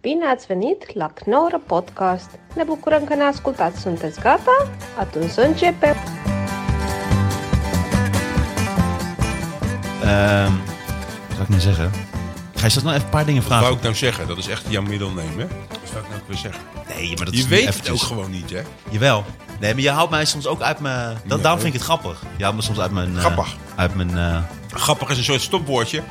Bine ați venit la Knorr Podcast! Ne bucurăm că ne ascultați! Sunteți gata? Atunci să începem! Ehm, wat zou ik nou zeggen? Ga je dat nou even een paar dingen Wat vragen? wou ik nou zeggen? Dat is echt jouw middelneem, hè? Wat zou ik nou ook weer zeggen? Nee, maar dat Je is weet nu het eventjes- ook gewoon niet, hè? Jawel. Nee, maar je houdt mij soms ook uit mijn... Dat, Nee. Daarom vind ik het grappig. Je houdt me soms uit mijn... eh, Grappig. uit mijn... eh, Grappig is een soort stopwoordje.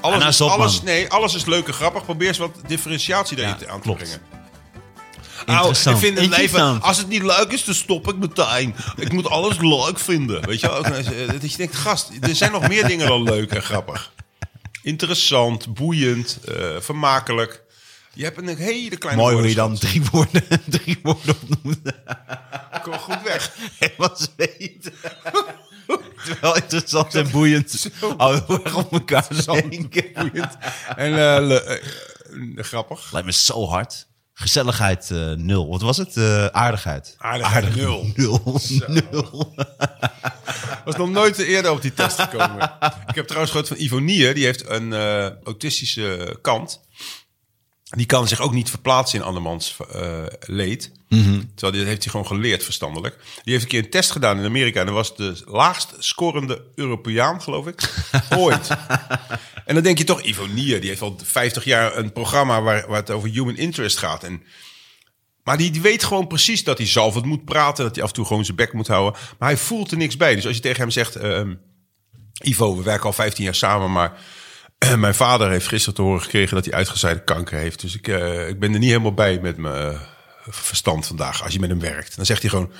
Alles, nou, is, stop, alles, man. nee, alles is leuk en grappig. Probeer eens wat differentiatie daarin Ja, te- aan te klopt. brengen. Au, ik interessant. nou? vind het leven, Interessant. als het niet leuk is, dan stop ik meteen. Ik moet alles leuk vinden. Weet je wel? Ook, eh, Dat je denkt, gast, er zijn nog meer dingen dan leuk en grappig. Interessant, boeiend, eh, vermakelijk. Je hebt een hele kleine Mooi hoe je dan woordenschat. drie woorden, drie woorden opnoemt. Kom goed weg. Helemaal zweet. Wel interessant en boeiend. Oh, heel erg op elkaar denken. Boeiend. En eh, le- eh, eh, grappig. Lijkt me zo hard. Gezelligheid eh, nul. Wat was het? Eh, aardigheid. Aardigheid nul. Nul. Nul. Was nog nooit eerder op die test gekomen. Ik heb trouwens gehoord van Ivonie, die heeft een eh, autistische kant. Die kan zich ook niet verplaatsen in andermans eh, leed. Terwijl dit heeft hij gewoon geleerd verstandelijk. Die heeft een keer een test gedaan in Amerika. En dat was de laagst scorende Europeaan, geloof ik, ooit. En dan denk je toch, Ivonie, die heeft al 50 jaar een programma waar, waar het over human interest gaat. En maar die, die weet gewoon precies dat hij zalvend moet praten. Dat hij af en toe gewoon zijn bek moet houden. Maar hij voelt er niks bij. Dus als je tegen hem zegt... ehm, Ivo, we werken al 15 jaar samen, maar... Mijn vader heeft gisteren te horen gekregen dat hij uitgezaaide kanker heeft. Dus ik, eh, ik ben er niet helemaal bij met mijn eh, verstand vandaag, als je met hem werkt. Dan zegt hij gewoon...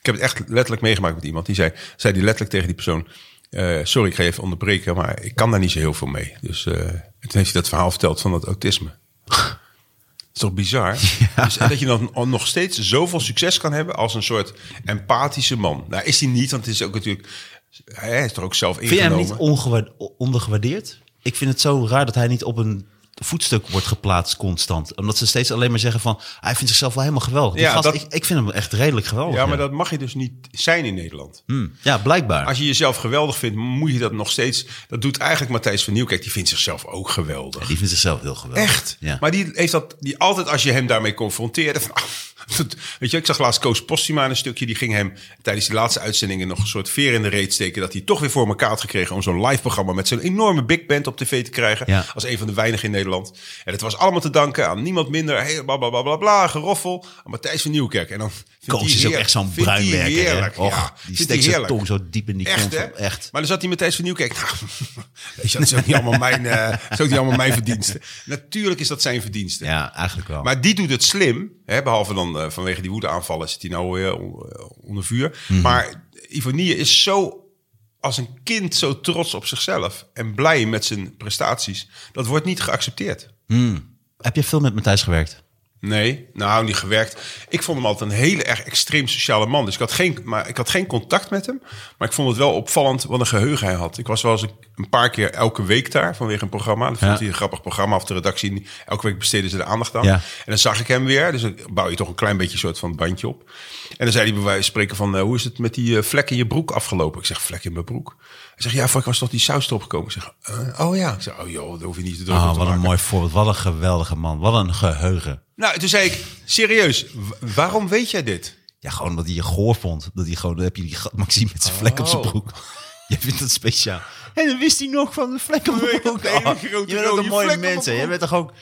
Ik heb het echt letterlijk meegemaakt met iemand. Die zei, zei die letterlijk tegen die persoon... eh, sorry, ik ga je even onderbreken, maar ik kan daar niet zo heel veel mee. Dus eh, en toen heeft hij dat verhaal verteld van dat autisme. Dat is toch bizar? Dus, en dat je dan nog steeds zoveel succes kan hebben als een soort empathische man. Nou, is hij niet, want het is ook natuurlijk. Hij is er ook zelf Vind jij hem ingenomen. niet ongewaar- o- ondergewaardeerd? Ik vind het zo raar dat hij niet op een voetstuk wordt geplaatst constant. Omdat ze steeds alleen maar zeggen van... hij vindt zichzelf wel helemaal geweldig. Die Ja, gast, dat- ik, ik vind hem echt redelijk geweldig. ja, maar dat mag je dus niet zijn in Nederland. Hmm. Ja, blijkbaar. Als je jezelf geweldig vindt, moet je dat nog steeds. Dat doet eigenlijk Matthijs van Nieuwkerk. Die vindt zichzelf ook geweldig. Die vindt zichzelf heel geweldig. Echt. Ja. Maar die heeft dat die altijd als je hem daarmee confronteerde. Van, ah, dat- weet je, ik zag laatst Koos Postuma in een stukje. Die ging hem tijdens die laatste uitzendingen nog een soort veer in de reet steken. Dat hij toch weer voor elkaar had gekregen om zo'n live programma met zo'n enorme big band op tv te krijgen. Ja. Als een van de weinigen in Nederland. En het was allemaal te danken aan niemand minder. Hey, bla, bla, bla, bla, bla, geroffel. Aan Matthijs van Nieuwkerk. En dan vindt Koos hij is ook heer- echt zo'n vindt hij bruinwerker. hè? heerlijk, Och, ja. die Vindt hij steekt zijn heerlijk. tong zo diep in die Echt, kont. hè? Echt. Maar dan zat hij Matthijs van Nieuwkerk. Nou, weet je, dat is ook niet allemaal mijn, eh, dat is ook niet allemaal mijn verdiensten. Natuurlijk is dat zijn verdiensten. Ja, eigenlijk wel. Maar die doet het slim. Hè, behalve dan eh, vanwege die woedeaanvallen zit hij nou weer on- eh, onder vuur. Mhm. Maar Ivonie is zo als een kind zo trots op zichzelf. En blij met zijn prestaties. Dat wordt niet geaccepteerd. Hmm. Heb je veel met Matthijs gewerkt? Oh, Nee, nou niet gewerkt. Ik vond hem altijd een hele erg extreem sociale man. Dus ik had, geen, maar ik had geen contact met hem. Maar ik vond het wel opvallend wat een geheugen hij had. Ik was wel eens een, een paar keer elke week daar vanwege een programma. Dat vond Ja. hij een grappig programma of de redactie. Elke week besteden ze de aandacht aan. Ja. En dan zag ik hem weer. Dus dan bouw je toch een klein beetje een soort van bandje op. En dan zei hij bij wijze van spreken van... eh, hoe is het met die eh, vlek in je broek afgelopen? Ik zeg, vlek in mijn broek? Hij zegt, ja, fuck, was toch die saus erop gekomen? Ik zeg, eh, oh ja. Ik zeg, oh joh, daar hoef je niet te druk om Oh, te wat maken. een mooi voorbeeld. Wat een geweldige man. Wat een geheugen. Nou, toen zei ik, serieus, w- waarom weet jij dit? Ja, gewoon dat hij je goor vond. Dat hij gewoon, dan heb je die gat- Maxime met zijn vlek op zijn Oh. broek. Jij vindt dat speciaal. En dan wist hij nog van de vlek op Nee, mijn ik broek. heb een hele Oh, grote je bent ook rode een mooie vlek op mijn mensen. Je broek. bent toch ook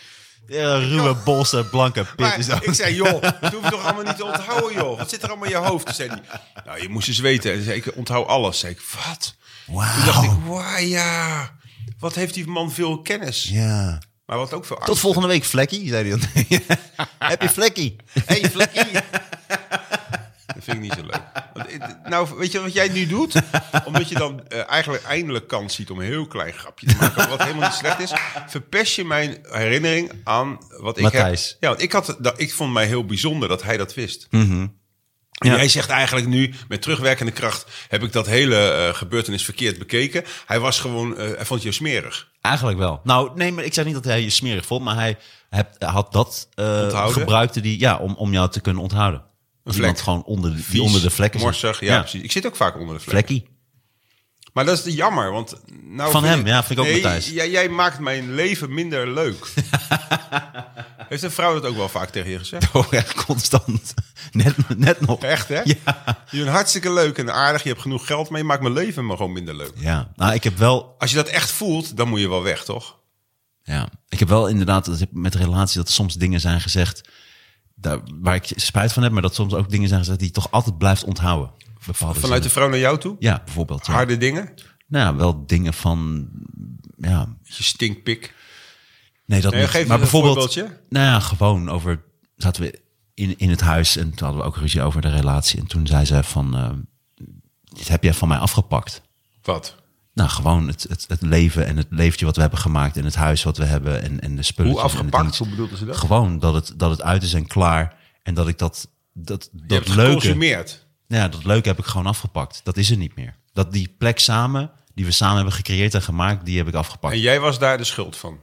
eh, ruwe bos en blanke pit. Maar is dat- ik zei, joh, dat hoef je toch allemaal niet te onthouden, joh. Wat zit er allemaal in je hoofd? Toen zei hij, nou, je moest eens weten. En zei ik, onthoud alles. Zei ik, wat? Toen dacht ik, Wauw. wauw, ja. Wat heeft die man veel kennis. Ja. Maar wat ook veel Tot angst. volgende week, Vlekkie, zei hij dan. Heb je Vlekkie? Hé, hey, Vlekkie. Dat vind ik niet zo leuk. Want ik- Nou, weet je wat jij nu doet? Omdat je dan eh, eigenlijk eindelijk kans ziet om een heel klein grapje te maken, wat helemaal niet slecht is, verpest je mijn herinnering aan wat ik Matthijs. heb. Ja, want ik, had, dat, ik vond mij heel bijzonder dat hij dat wist. En Mhm. Ja. Jij zegt eigenlijk nu, met terugwerkende kracht, heb ik dat hele eh, gebeurtenis verkeerd bekeken. Hij was gewoon, eh, hij vond je smerig. Eigenlijk wel. Nou, nee, maar ik zeg niet dat hij je smerig vond, maar hij hebt, had dat eh, Onthouden? gebruikte die, ja, om, om jou te kunnen onthouden. Een vlek. gewoon onder, de- die Vies, onder de vlekken zit. Morsig, ja, precies. Ik zit ook vaak onder de vlek. Vlekkie. Maar dat is jammer, want... Nou Van vind hem, ja, vind ik ook nee, Matthijs. Jij, jij maakt mijn leven minder leuk. Heeft een vrouw dat ook wel vaak tegen je gezegd? Oh, echt constant. Net, net nog. Echt, hè? Ja. Je bent hartstikke leuk en aardig. Je hebt genoeg geld, maar je maakt mijn leven maar gewoon minder leuk. Ja, nou, ik heb wel, Als je dat echt voelt, dan moet je wel weg, toch? ja, ik heb wel inderdaad dat ik met relatie dat soms dingen zijn gezegd daar, waar ik spijt van heb, maar dat soms ook dingen zijn gezegd die je toch altijd blijft onthouden. Bepaalde Vanuit de zinnen. vrouw naar jou toe? Ja, bijvoorbeeld. ja. Harde dingen? Nou ja, wel dingen van, ja, Je stinkpik. Nee, dat Nee, niet. geef maar eens een bijvoorbeeld, voorbeeldje. Nou ja, gewoon over... Zaten we in, in het huis en toen hadden we ook ruzie over de relatie. En toen zei ze van... eh, dit heb jij van mij afgepakt. Wat? Nou, gewoon het, het, het leven en het leeftje wat we hebben gemaakt... en het huis wat we hebben en, en de spullen. Hoe afgepakt? Hoe bedoelde ze dat? Gewoon dat het, dat het uit is en klaar. En dat ik dat, dat, Je dat hebt leuke... geconsumeerd. Nou ja, dat leuke heb ik gewoon afgepakt. Dat is er niet meer. Dat die plek samen, die we samen hebben gecreëerd en gemaakt... die heb ik afgepakt. En jij was daar de schuld van.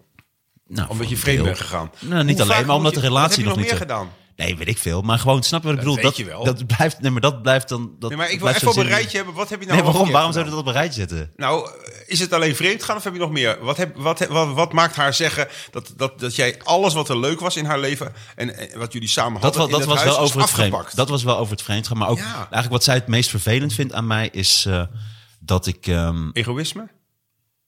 Nou, Omdat je voor vreemd een bent deel. gegaan. Nou, niet Hoe vaak alleen, maar moet omdat je- de relatie Wat nog heb niet... eh, je nog meer zo- gedaan? Nee, weet ik veel. Maar gewoon, snap je wat ik Dat bedoel? weet je wel. Dat blijft, nee, maar dat blijft dan... Dat Nee, maar ik wil blijft even op zo'n een zin- rijtje hebben. Wat heb je nou Nee, waarom? allemaal Waarom verkeerd zou je dat op een rijtje zetten? Nou, is het alleen vreemd gaan of heb je nog meer? Wat, heb, wat, wat, wat maakt haar zeggen dat, dat, dat jij alles wat er leuk was in haar leven en, en wat jullie samen Dat, hadden wa- in dat het was huis wel over is het vreemd. afgepakt? Dat was wel over het vreemd gaan. Maar ook Ja. eigenlijk wat zij het meest vervelend vindt aan mij is eh, dat ik... ehm, Egoïsme?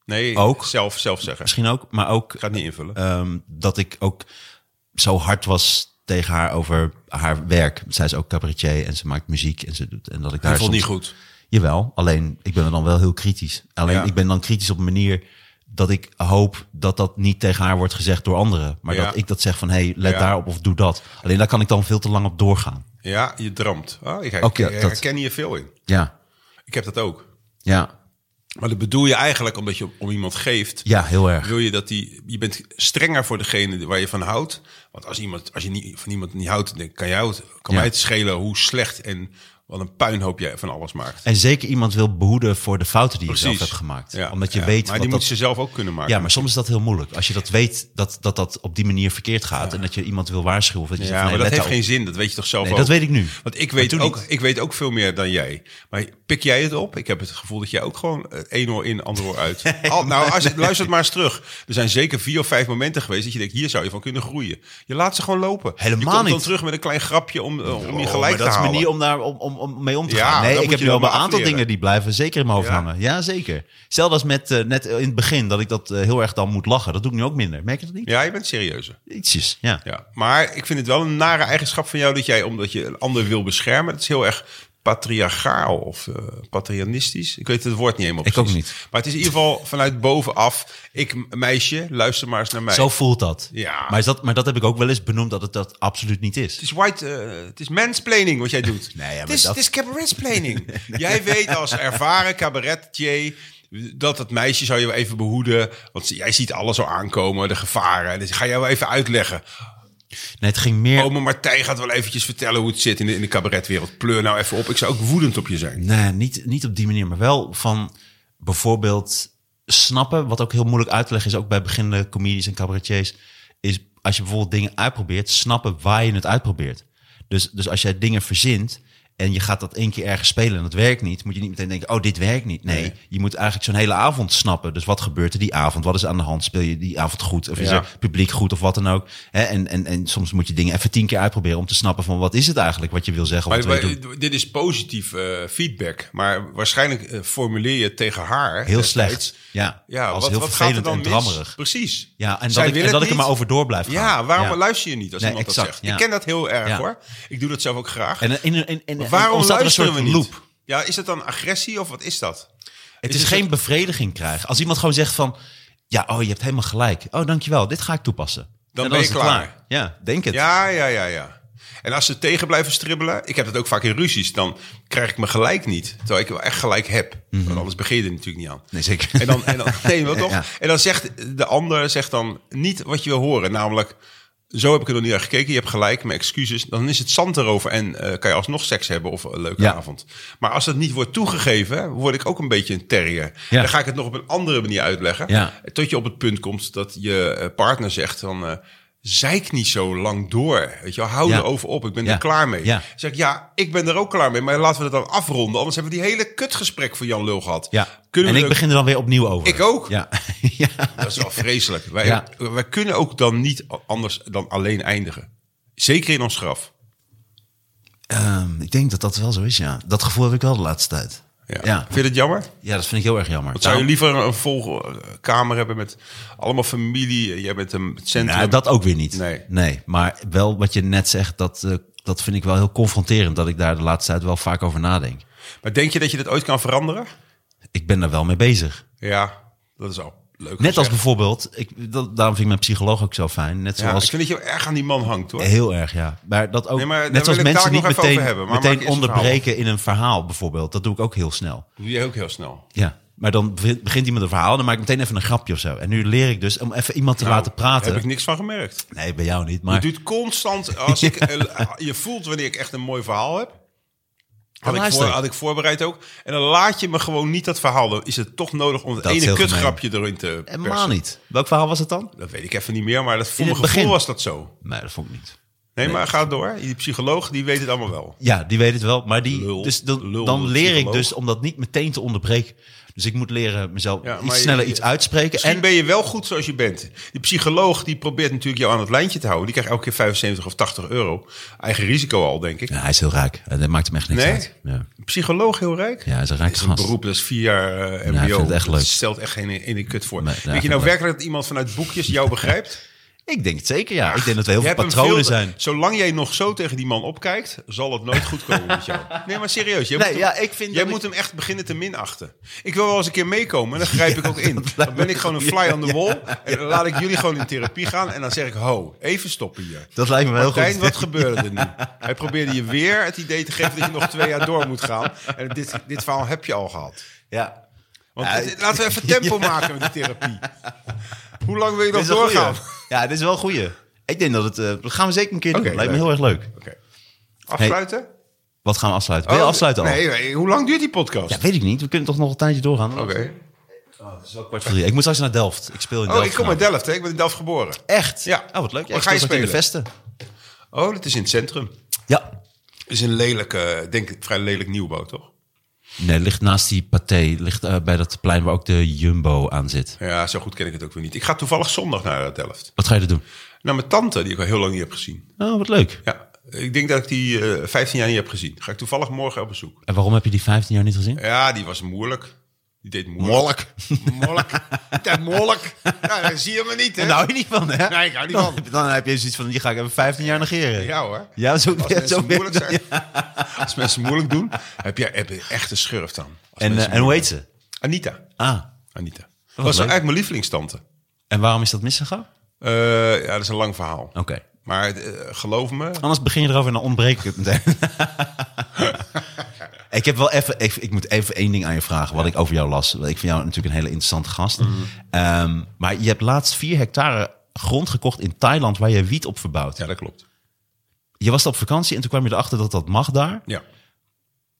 Nee, Ook. Zelf, zelf zeggen. misschien ook, maar ook Ik ga het niet invullen. ehm, dat ik ook zo hard was tegen haar over haar werk. Zij is ook cabaretier en ze maakt muziek en ze doet en dat ik daar dat vond soms- niet goed. Jawel, alleen ik ben er dan wel heel kritisch. Alleen Ja. ik ben dan kritisch op een manier dat ik hoop dat dat niet tegen haar wordt gezegd door anderen. Maar Ja. dat ik dat zeg van, hey, let Ja. daarop of doe dat. Alleen daar kan ik dan veel te lang op doorgaan. Ja, je droomt. Ah, ik ik Oké, ik dat- herken hier veel in. Ja, Ik heb dat ook. ja, Maar dat bedoel je eigenlijk omdat je om iemand geeft. ja, heel erg. Wil je dat die. Je bent strenger voor degene waar je van houdt. Want als, iemand, als je niet, van iemand niet houdt, dan kan, jou het, Ja. kan mij het schelen hoe slecht en wat een puinhoop jij van alles maakt. En zeker iemand wil behoeden voor de fouten die je zelf hebt gemaakt. Ja, Omdat je ja. weet... Maar wat die dat... moet ze zelf ook kunnen maken. Ja, maar soms is dat heel moeilijk. Als je dat weet, dat dat, dat op die manier verkeerd gaat... en dat je iemand wil waarschuwen. Of Dus dat je Ja, zegt, van, maar hey, dat let heeft daar geen op. zin. Dat weet je toch zelf Nee, ook? dat weet ik nu. Want ik Maar weet, toen ook, niet. ik weet ook veel meer dan jij. Maar pik jij het op? Ik heb het gevoel dat jij ook gewoon eh, één oor in, ander oor uit. Al, nou, als je, luister het maar eens terug. Er zijn zeker vier of vijf momenten geweest dat je denkt, hier zou je van kunnen groeien. Je laat ze gewoon lopen. Helemaal je komt dan niet. terug met een klein grapje om, eh, om je Oh, gelijk maar dat te is een halen. manier om daar om, om, om mee om te Ja, gaan. dat Nee, ik moet heb je nu dan al een maar aantal afleren. dingen die blijven zeker in mijn hoofd Ja. hangen. Ja, zeker. Zelfs als met eh, net in het begin dat ik dat eh, heel erg dan moet lachen. Dat doe ik nu ook minder. Merk je dat niet? Ja, je bent serieuzer. Ietsjes, ja. Ja. Maar ik vind het wel een nare eigenschap van jou dat jij, omdat je een ander wil beschermen, dat is heel erg patriarchaal of eh patrianistisch. Ik weet het woord niet helemaal Ik ook precies. niet. Maar het is in ieder geval vanuit bovenaf. Ik, m- meisje, luister maar eens naar mij. Zo voelt dat. Ja. Maar, is dat. maar dat heb ik ook wel eens benoemd dat het dat absoluut niet is. Het is white, eh, het is mansplaining wat jij doet. Nee, ja, maar het, is, dat- het is cabaretplaining. Jij weet als ervaren cabaretier dat het meisje zou je wel even behoeden. Want jij ziet alles al aankomen, de gevaren. Dus ik ga jou wel even uitleggen. Nee, het ging meer. Oma Martijn gaat wel eventjes vertellen hoe het zit in de, in de cabaretwereld. Pleur nou even op. Ik zou ook woedend op je zijn. Nee, niet, niet op die manier, maar wel van bijvoorbeeld snappen. Wat ook heel moeilijk uit te leggen is, ook bij beginnende comedies en cabaretiers. Is als je bijvoorbeeld dingen uitprobeert, snappen waar je het uitprobeert. Dus, dus als jij dingen verzint en je gaat dat één keer ergens spelen en dat werkt niet, moet je niet meteen denken: oh, dit werkt niet. Nee, Nee. je moet eigenlijk zo'n hele avond snappen. Dus wat gebeurt er die avond? Wat is aan de hand? Speel je die avond goed? Of is Ja. er publiek goed of wat dan ook? Hè, en, en, en soms moet je dingen even tien keer uitproberen om te snappen van wat is het eigenlijk wat je wil zeggen. Of Maar, wat wil je maar, doen. dit is positief eh, feedback. Maar waarschijnlijk eh, formuleer je het tegen haar. Heel destijds. slecht. Ja, Ja, als wat, heel wat gaat er vervelend dan en mis? drammerig. Precies. Ja, en Zij dat, ik, wil en het dat ik er niet. maar over door blijf gaan. Ja, waarom Ja. luister je niet als Nee, iemand exact, dat zegt? ja. Ik ken dat heel erg Ja. hoor. Ik doe dat zelf ook graag. En, in, in, in, in, Maar er waarom ontstaat een luisteren we soort niet? loop. Ja, is dat dan agressie of wat is dat? Het Is is, het geen bevrediging krijgen. Als iemand gewoon zegt van... Ja, oh, je hebt helemaal gelijk. Oh, dankjewel. Dit ga ik toepassen. En Dan, ben is je het klaar. Ja, denk het. Ja, ja, ja, ja. En als ze tegen blijven stribbelen, ik heb dat ook vaak in ruzies, dan krijg ik me gelijk niet. Terwijl ik wel echt gelijk heb. Want anders begin je er natuurlijk niet aan. Nee, zeker. En dan, en dan, nee, maar toch? Ja. En dan zegt de ander zegt dan niet wat je wil horen. Namelijk, zo heb ik er nog niet naar gekeken. Je hebt gelijk, mijn excuses. Dan is het zand erover en eh, kan je alsnog seks hebben of een leuke Ja. avond. Maar als dat niet wordt toegegeven, word ik ook een beetje een terrier. Ja. Dan ga ik het nog op een andere manier uitleggen. Ja. Tot je op het punt komt dat je eh, partner zegt van... eh, zeik niet zo lang door. Weet je wel, hou Ja. erover op. Ik ben Ja. er klaar mee. Ja. Zeg ik, ja, ik ben er ook klaar mee. Maar laten we dat dan afronden. Anders hebben we die hele kutgesprek van Jan Lul gehad. Ja. Kunnen en we ik er- begin er dan weer opnieuw over. Ik ook. Ja. ja. Dat is wel vreselijk. Wij, Ja. wij kunnen ook dan niet anders dan alleen eindigen. Zeker in ons graf. Ehm, ik denk dat dat wel zo is, ja. Dat gevoel heb ik wel de laatste tijd. Ja. Ja. Vind je dat jammer? Ja, dat vind ik heel erg jammer. Wat zou je Nou, liever een volkamer hebben met allemaal familie? Jij bent een centrum. nou, dat ook weer niet. Nee. maar wel wat je net zegt, dat, eh, dat vind ik wel heel confronterend. Dat ik daar de laatste tijd wel vaak over nadenk. Maar denk je dat je dat ooit kan veranderen? Ik ben daar wel mee bezig. Ja, dat is al leuk. Net als gezegd. bijvoorbeeld, ik, dat, daarom vind ik mijn psycholoog ook zo fijn. Net Ja, zoals ik vind dat je erg aan die man hangt, hoor. Heel erg, ja. Maar dat ook, Nee, maar daar net zoals wil ik mensen niet daar nog even meteen, over hebben, maar maak meteen eerst het onderbreken in een verhaal bijvoorbeeld. Dat doe ik ook heel snel. doe je ook heel snel. Ja. Maar dan begint begint iemand een verhaal en dan maak ik meteen even een grapje of zo. En nu leer ik dus om even iemand te laten praten. Daar Nou, heb ik niks van gemerkt. Nee, bij jou niet. Het Maar duurt constant. Als ik, eh, Je voelt wanneer ik echt een mooi verhaal heb. Had ik, luister voor, ik. had ik voorbereid ook. En dan laat je me gewoon niet dat verhaal. Dan is het toch nodig om het Dat is ene heel gemeen. kutgrapje erin te persen. helemaal niet. Welk verhaal was het dan? Dat weet ik even niet meer, maar dat voor In mijn het gevoel begin. was dat zo. Nee, dat vond ik niet. Nee, maar ga door. Die psycholoog, die weet het allemaal wel. Ja, die weet het wel. Maar die, Lul. dus dan, Lul, dan leer ik psycholoog. dus om dat niet meteen te onderbreken. Dus ik moet leren mezelf Ja, maar iets je- sneller je- iets uitspreken. Misschien En ben je wel goed zoals je bent. Die psycholoog die probeert natuurlijk jou aan het lijntje te houden. Die krijgt elke keer 75 of 80 euro. Eigen risico al, denk ik. ja, hij is heel raak. Eh, Dat maakt hem echt niks Nee? uit. Ja. Een Psycholoog heel rijk? ja, hij is een Dat raak is een gast. beroep, dat is vier jaar eh, ik mbo. vind het echt leuk. Dat stelt echt geen e- ene kut voor. Nee, nee, Weet je vind nou ik werkelijk dat iemand vanuit boekjes jou begrijpt? Ik denk het zeker, ja. ik denk dat we heel Je veel hebt hem patronen veel- zijn. Zolang jij nog zo tegen die man opkijkt, zal het nooit goed komen met jou. Nee, maar serieus. Jij Nee, moet, ja, hem, ik vind jij dat moet ik- hem echt beginnen te minachten. Ik wil wel eens een keer meekomen en dan grijp ik ook in. lijkt Dan ben me ik gewoon een goed. fly on the wall. En dan laat ik jullie gewoon in therapie gaan. En dan zeg ik, ho, even stoppen hier. Dat lijkt me wel heel goed. Martijn, wat gebeurde er nu? Hij probeerde je weer het idee te geven dat je nog twee jaar door moet gaan. En dit, dit verhaal heb je al gehad. Ja. Want Ja, het- ik- laten we even tempo maken met die therapie. Hoe lang wil je Dit nog is een doorgaan? goeie. Ja, dit is wel een goeie. Ik denk dat het... eh, dat gaan we zeker een keer Oké, doen. Lijkt me heel erg leuk. Oké. Afsluiten? Wat gaan we afsluiten? Wil je Oh, afsluiten al? Nee, nee, hoe lang duurt die podcast? Ja, weet ik niet. We kunnen toch nog een tijdje doorgaan? Oké. Oh, het is wel kwart voor drie. Ik moet straks naar Delft. Ik speel in Oh, Delft. ik kom uit vanavond. Delft, hè? Ik ben in Delft geboren. Echt? Ja. Oh, wat leuk. Ja, Waar ik ga je speel wat in de spelen? Vesten. Oh, dat is in het centrum. Ja. Het is een lelijke, eh, denk ik, vrij lelijk nieuwbouw, toch? Nee, ligt naast die paté. Ligt eh, bij dat plein waar ook de Jumbo aan zit. Ja, zo goed ken ik het ook weer niet. Ik ga toevallig zondag naar eh, Delft. Wat ga je er doen? Naar mijn tante, die ik al heel lang niet heb gezien. Oh, wat leuk. Ja, ik denk dat ik die eh 15 jaar niet heb gezien. Ga ik toevallig morgen op bezoek. En waarom heb je die 15 jaar niet gezien? Ja, die was moeilijk. Die deed moeilijk. Moeilijk. Ja, moeilijk. Ja, dan zie je me niet, hè? Eh, Daar hou je niet van, hè? Nee, ik hou niet dan, van. heb- Dan heb je zoiets van, die ga ik even 15 jaar negeren. Ja hoor. Ja, zo, Als zo mensen moeilijk zo- zijn, als mensen moeilijk doen, heb je, heb je echt een schurf dan. Als En, mensen eh, en hoe heet ze? Anita. Ah, Anita. Dat leuk. was eigenlijk mijn lievelingstante. en waarom is dat misgegaan? Eh, ja, dat is een lang verhaal. Oké. Maar eh, geloof me, Anders begin je erover en dan ontbreek ik het meteen. ik heb wel even, ik, ik moet even één ding aan je vragen, wat ik over jou las. Want Ik vind jou natuurlijk een hele interessante gast. Ehm, maar je hebt laatst vier hectare grond gekocht in Thailand waar je wiet op verbouwt. ja, dat klopt. Je was daar op vakantie en toen kwam je erachter dat dat mag daar. Ja,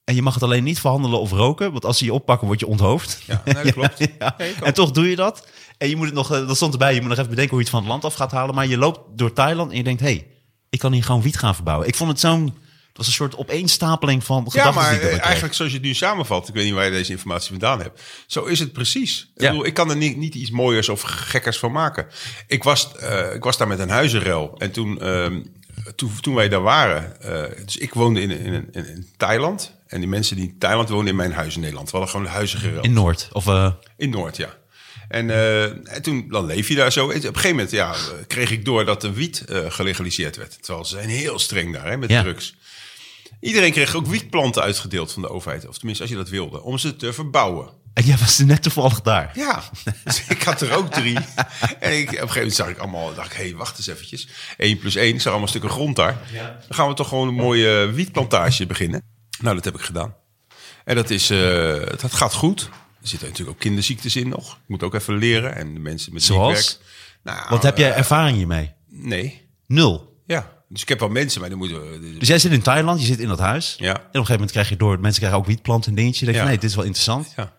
En je mag het alleen niet verhandelen of roken, want als ze je oppakken word je onthoofd. ja nee, dat klopt. Ja. Nee, en dat klopt. toch doe je dat. En je moet het nog, eh, dat stond erbij, je moet nog even bedenken hoe je het van het land af gaat halen. Maar je loopt door Thailand en je denkt, hé, hey, ik kan hier gewoon wiet gaan verbouwen. Ik vond het zo'n, het was een soort opeenstapeling van Ja, gedachten. maar die ik daarbij eh, kreeg. eigenlijk zoals je het nu samenvat, ik weet niet waar je deze informatie vandaan hebt. Zo is het precies. Ik, Ja. bedoel, ik kan er niet, niet iets mooiers of gekkers van maken. Ik was, eh, ik was daar met een huizenrel. En toen, ehm, toen, toen wij daar waren, eh, dus ik woonde in, in, in, in Thailand. En die mensen die in Thailand woonden in mijn huis in Nederland. We hadden gewoon huizen gereld. In Noord. Of, eh, In Noord, ja. En, eh, en toen dan leef je daar zo. En op een gegeven moment ja, eh, kreeg ik door dat de wiet eh, gelegaliseerd werd. Terwijl ze zijn heel streng daar hè, met Ja. drugs. Iedereen kreeg ook wietplanten uitgedeeld van de overheid. Of tenminste, als je dat wilde. Om ze te verbouwen. en jij was net toevallig daar. Ja, dus ik had er ook drie. En ik, op een gegeven moment zag ik allemaal, dacht ik, hé, wacht eens eventjes. 1 plus 1, ik zag allemaal stukken grond daar. Dan gaan we toch gewoon een mooie wietplantage beginnen. Nou, dat heb ik gedaan. En dat, is, eh, dat gaat goed. Er zitten natuurlijk ook kinderziektes in nog. Ik moet ook even leren. En de mensen met wie ik Zoals? werk. Nou, eh, Want heb jij ervaring hiermee? Nee, Nul. ja. Dus ik heb wel mensen, maar dan moeten we... Dus jij zit in Thailand, je zit in dat huis. Ja. En op een gegeven moment krijg je door, mensen krijgen ook wietplanten en dingetje. Je denkt, Ja. nee, dit is wel interessant. Ja.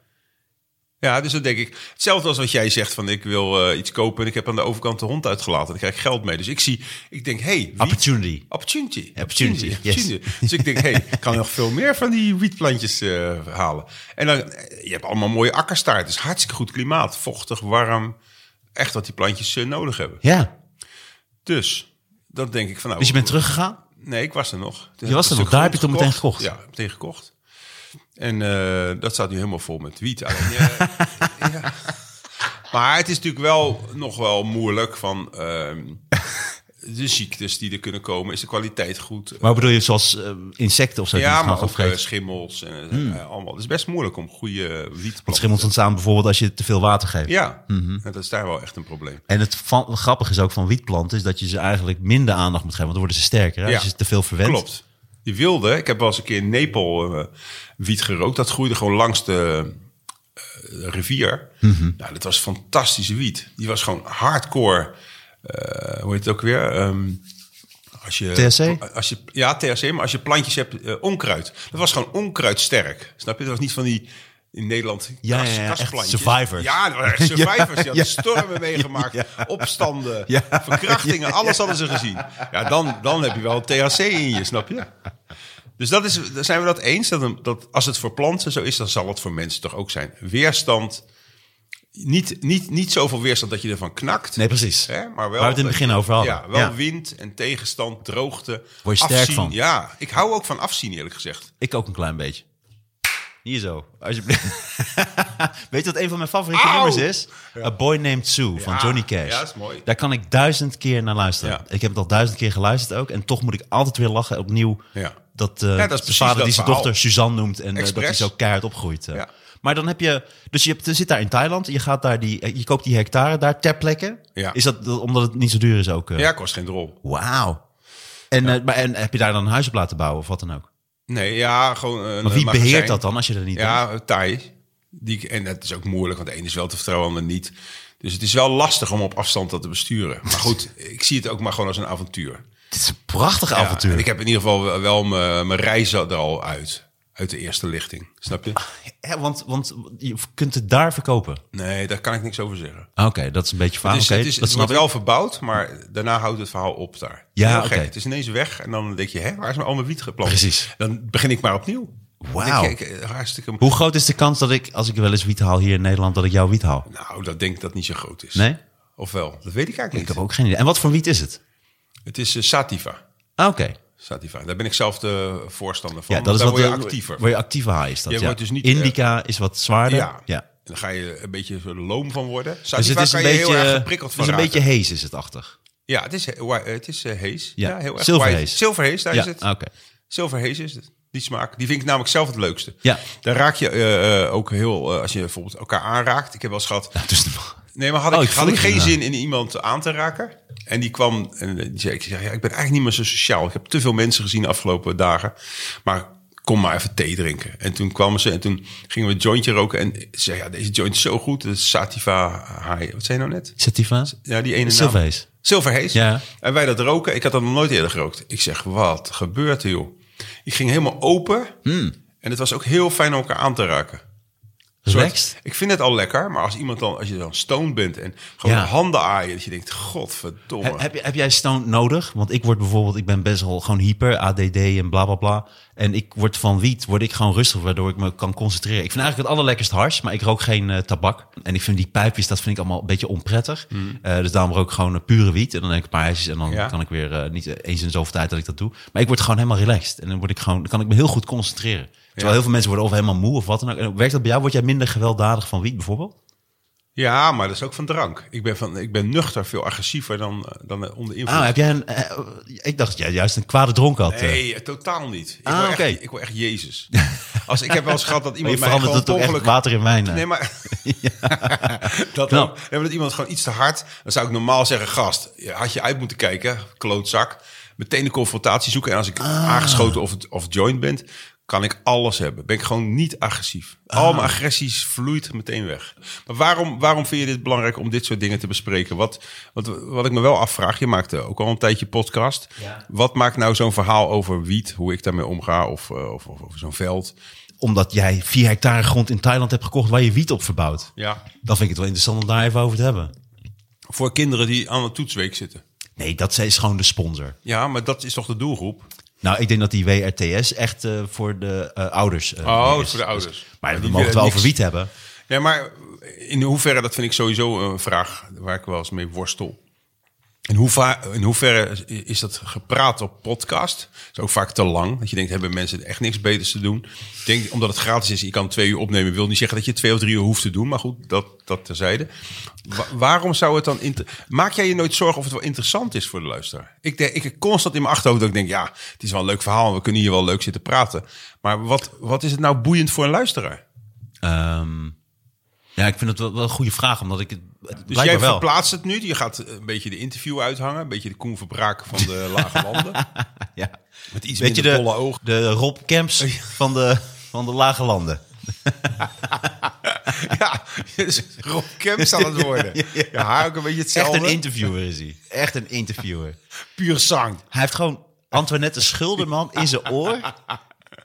Ja, dus dat denk ik. Hetzelfde als wat jij zegt van ik wil eh, iets kopen en ik heb aan de overkant de hond uitgelaten. Dan krijg ik geld mee. Dus ik zie, ik denk, hey, wiet- Opportunity. Opportunity. Opportunity, yes. Dus ik denk, hey, ik kan nog veel meer van die wietplantjes eh, halen. En dan, eh, je hebt allemaal mooie akkers daar. Het is hartstikke goed klimaat. Vochtig, warm. Echt wat die plantjes eh, nodig hebben. Ja. Dus, dat denk ik van nou... Dus je bent teruggegaan? Nee, ik was er nog. Toen heb was ik er een nog. Daar heb stuk je toch grond meteen gekocht? Ja, meteen gekocht. En eh, dat staat nu helemaal vol met wiet. Alleen, eh, ja. Maar het is natuurlijk wel nog wel moeilijk van... ehm, de ziektes die er kunnen komen, is de kwaliteit goed? Maar bedoel je zoals eh, insecten of zo? die ja, het gaan maar ook eh, vreten? schimmels en eh, allemaal. Het is best moeilijk om goede wietplanten... Want Hmm. schimmels Mhm. ontstaan bijvoorbeeld als je te veel water geeft. Ja, dat is daar wel echt een probleem. En het van, wat grappig is ook van wietplanten is dat je ze eigenlijk minder aandacht moet geven, want dan worden ze sterker. Hè? Ja. Als je ze te veel verwendt. Klopt. Die wilde, ik heb wel eens een keer in Nepal eh, wiet gerookt. Dat groeide gewoon langs de eh, rivier. Mhm. Nou, dat was fantastische wiet. Die was gewoon hardcore. eh, hoe heet het ook weer? Ehm, als je, THC? Als je, ja, THC, maar als je plantjes hebt, eh, onkruid. Dat was gewoon onkruidsterk. Snap je? Dat was niet van die in Nederland Ja, kas- ja, ja, echt kasplantjes. survivors. Ja, dat waren echt survivors. Die hadden Ja. stormen meegemaakt, opstanden, Ja. verkrachtingen. Alles hadden ze gezien. Ja, dan, dan heb je wel THC in je, snap je? Dus dat is, daar zijn we dat eens. Dat, een- dat als het voor planten zo is, dan zal het voor mensen toch ook zijn. Weerstand. Niet, niet, niet zoveel weerstand dat je ervan knakt. Nee, precies. Hè, maar Waar wel we het in het dat begin je- over hadden. Ja, wel Ja. wind en tegenstand, droogte. Word je sterk afzien. van. Ja, ik hou ook van afzien eerlijk gezegd. Ik ook een klein beetje. Hier zo, alsjeblieft. Weet je wat een van mijn favoriete Auw! nummers is? A Boy Named Sue van Ja, Johnny Cash. ja, is mooi. Daar kan ik duizend keer naar luisteren. Ja. Ik heb het al duizend keer geluisterd ook. En toch moet ik altijd weer lachen opnieuw. Ja. Dat, eh, dat is zijn precies vader dat die zijn verhaal. dochter Suzanne noemt. En eh, dat hij Express. zo keihard opgroeit. eh. Ja. Maar dan heb je... Dus je, hebt, je zit daar in Thailand. Je, gaat daar die, eh, je koopt die hectare daar ter plekke. Ja. Is dat dat- omdat het niet zo duur is ook? eh? Ja, kost geen drol. Wauw. En, eh, maar, en heb je daar dan een huis op laten bouwen of wat dan ook? Nee, ja, gewoon een Maar wie magazijn. beheert dat dan als je er niet bent? Ja, Thai. Die, en dat is ook moeilijk, want de een is wel te vertrouwen, de ander niet. Dus het is wel lastig om op afstand dat te besturen. Maar goed, ik zie het ook maar gewoon als een avontuur. Dit is een prachtig Ja, avontuur. en ik heb in ieder geval wel mijn, mijn reizen er al uit. Uit de eerste lichting. Snap je? Hè, want, want je kunt het daar verkopen. Ah, Nee, daar kan ik niks over zeggen. Oké, dat is een beetje vaag. het is, Oké, het, is, dat het snap wordt ik. wel verbouwd, maar daarna houdt het verhaal op daar. Ja, Heel oké. gek. Het is ineens weg en dan denk je, hè, waar is mijn al mijn wiet geplant? Precies. Dan begin ik maar opnieuw. Dan Wauw. denk je, ik, eh, hartstikke... Hoe groot is de kans dat ik, als ik wel eens wiet haal hier in Nederland, dat ik jouw wiet haal? Nou, dat denk ik dat niet zo groot is. Nee? Of wel? Dat weet ik eigenlijk Ik niet. heb ook geen idee. En wat voor wiet is het? Het is eh, Sativa. Ah, Oké. Sativa. Daar ben ik zelf de voorstander van. Ja, dat is daar wat word je de- actiever. Word je actieve haai is dat, Je ja. wordt dus niet, Indica is wat zwaarder. ja. ja. En dan ga je een beetje zo loom van worden. Sativa Dus het is kan een je heel erg beetje, geprikkeld het van is een raken. beetje hees is het achtig. Ja, het is, he- wa- eh, het is eh, hees. Ja, Ja, heel erg. zilverhees. white. Zilverhees, daar Ja, is het. oké. Zilverhees is het. Die smaak. Die vind ik namelijk zelf het leukste. Ja. Daar raak je eh, eh, ook heel... eh, als je bijvoorbeeld elkaar aanraakt. Ik heb wel eens gehad... Nou, dus de- Nee, maar had Oh, ik, ik had voel ik het geen inderdaad. zin in iemand aan te raken. En die kwam en eh, die zei, ik, zei, ja, ik ben eigenlijk niet meer zo sociaal. Ik heb te veel mensen gezien de afgelopen dagen. Maar kom maar even thee drinken. En toen kwamen ze en toen gingen we een jointje roken. En ze zei, ja, deze joint is zo goed. De Sativa High. Wat zei je nou net? Sativa? Ja, die ene naam. Zilverhees. Zilverhees. Ja. En wij dat roken. Ik had dat nog nooit eerder gerookt. Ik zeg, wat gebeurt er, joh? Ik ging helemaal open. Hmm. En het was ook heel fijn om elkaar aan te raken. Een soort- Relaxed? ik vind het al lekker, maar als iemand dan, als je dan stoned bent en gewoon Ja. handen aaien, dat je denkt, godverdomme. He- heb, je- heb jij stoned nodig? Want ik word bijvoorbeeld, ik ben best wel gewoon hyper, ADD en bla bla bla. En ik word van wiet, word ik gewoon rustig, waardoor ik me kan concentreren. Ik vind eigenlijk het allerlekkerst hars, maar ik rook geen eh, tabak. En ik vind die pijpjes, dat vind ik allemaal een beetje onprettig. Eh, dus daarom rook ik gewoon eh, pure wiet. En dan neem ik een paar hesjes en dan Hmm. Ja. kan ik weer eh, niet eens in zoveel tijd dat ik dat doe. Maar ik word gewoon helemaal relaxed. En dan, word ik gewoon, dan kan ik me heel goed concentreren. Terwijl heel veel mensen worden of helemaal moe of wat dan ook. En werkt dat bij jou? Word jij minder gewelddadig van wiet bijvoorbeeld? Ja, maar dat is ook van drank. Ik ben, van, ik ben nuchter veel agressiever dan, eh, dan eh, onder invloed. Ah, heb jij een... eh, ik dacht dat jij juist een kwade dronk had. eh. Nee, eh, totaal niet. Ik, Ah, wil echt, oké. ik wil echt Jezus. Als, ik heb wel eens gehad dat Maar je iemand mij verandert gewoon het per toch echt ongeluk... water in wijn. hè? Nee, maar... dat, Knap. ook. Nee, maar dat iemand gewoon iets te hard... Dan zou ik normaal zeggen, gast, ja, had je uit moeten kijken, klootzak. Meteen de confrontatie zoeken. En als ik aangeschoten of, of joint ben, kan ik alles hebben. Ben ik gewoon niet agressief. Al mijn agressies vloeit meteen weg. Maar waarom, waarom vind je dit belangrijk om dit soort dingen te bespreken? Wat, wat, wat ik me wel afvraag, je maakt eh, ook al een tijdje podcast. Ja. Wat maakt nou zo'n verhaal over wiet, hoe ik daarmee omga of, eh, of, of, of zo'n veld... omdat jij vier hectare grond in Thailand hebt gekocht waar je wiet op verbouwt. Ja. Dan vind ik het wel interessant om daar even over te hebben. Voor kinderen die aan de toetsweek zitten. Nee, dat is gewoon de sponsor. Ja, maar dat is toch de doelgroep? Nou, ik denk dat die WRTS echt eh, voor de eh, ouders eh, Oh, meer is voor de ouders. maar Die we mogen het wel willen over niks. wiet hebben. Nee, maar in hoeverre, dat vind ik sowieso een vraag waar ik wel eens mee worstel. In, hoeva- in hoeverre is dat gepraat op podcast? Dat is ook vaak te lang. Dat je denkt, hebben mensen echt niks beters te doen? Ik denk, omdat het gratis is, je kan twee uur opnemen. wil niet zeggen dat je twee of drie uur hoeft te doen. Maar goed, dat, dat terzijde. Wa- waarom zou het dan... inter- Maak jij je nooit zorgen of het wel interessant is voor de luisteraar? Ik denk, ik heb constant in mijn achterhoofd dat ik denk... ja, het is wel een leuk verhaal. en We kunnen hier wel leuk zitten praten. Maar wat, wat is het nou boeiend voor een luisteraar? Ehm, ja, ik vind het wel, wel een goede vraag, omdat ik het het Dus blijkbaar jij wel. verplaatst het nu. Je gaat een beetje de interview uithangen. Een beetje de Koen Verbraak van de lage landen. Ja. Met iets Weet je minder de, dolle ogen. Oh, de Rob Camps van de, van de lage landen? Ja, dus Rob Kemps aan het worden. Ja, haar ook een beetje Echt hetzelfde. een interviewer is hij. Echt een interviewer. puur zang. Hij heeft gewoon Antoinette Schilderman in zijn oor.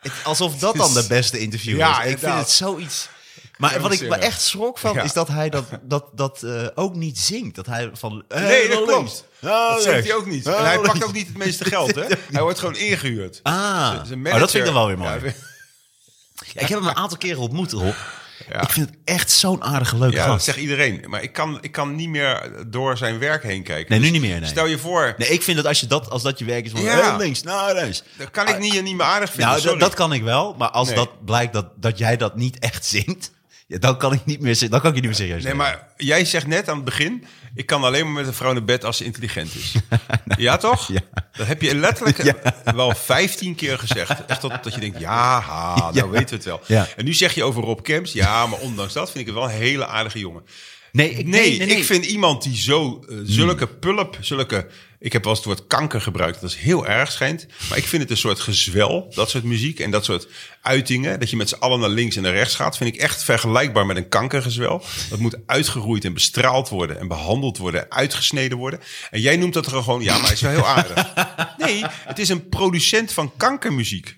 Het- alsof dat dan de beste interview Ja, is. Ik vind inderdaad. het zoiets... Maar moet wat ik me zeggen. echt schrok van, Ja. is dat hij dat, dat, dat eh, ook niet zingt. Dat hij van... eh, Nee, dat links. klopt. Eh, Dat zegt rechts. hij ook niet. Eh, En hij links. pakt ook niet het meeste geld, hè? Hij wordt gewoon ingehuurd. Ah, Zijn oh, manager- dat vind ik dan wel weer mooi. Ja, Ja, ik heb hem een aantal keren ontmoet, Rob. Ja. Ik vind het echt zo'n aardige, leuke Ja, dat gast. zegt iedereen. Maar ik kan, ik kan niet meer door zijn werk heen kijken. Nee, nu Dus niet meer, nee. Stel je voor, Nee, ik vind dat als, je dat, als dat je werk is, van Ja. eh, links, nou rechts. dat kan ik niet, niet meer aardig vinden. Nou, dat, sorry. dat kan ik wel. Maar als Nee. dat blijkt dat, dat jij dat niet echt zingt, ja, dan kan ik niet meer, zin- dan kan ik je niet meer serieus Nee, nemen. maar jij zegt net aan het begin... ik kan alleen maar met een vrouw naar bed als ze intelligent is. ja, toch? Ja. Dat heb je letterlijk wel 15 keer gezegd. Echt dat, dat je denkt, ja, ha, nou Ja. weten we het wel. Ja. En nu zeg je over Rob Kemps... ja, maar ondanks dat vind ik het wel een hele aardige jongen. Nee, ik, Nee, ik vind iemand die zo eh, zulke pulp, zulke... Ik heb wel eens het woord kanker gebruikt. Dat is heel erg schijnt. Maar ik vind het een soort gezwel, dat soort muziek en dat soort uitingen. Dat je met z'n allen naar links en naar rechts gaat. Vind ik echt vergelijkbaar met een kankergezwel. Dat moet uitgeroeid en bestraald worden. En behandeld worden. En uitgesneden worden. En jij noemt dat er gewoon... Ja, maar hij is wel heel aardig. Nee, het is een producent van kankermuziek.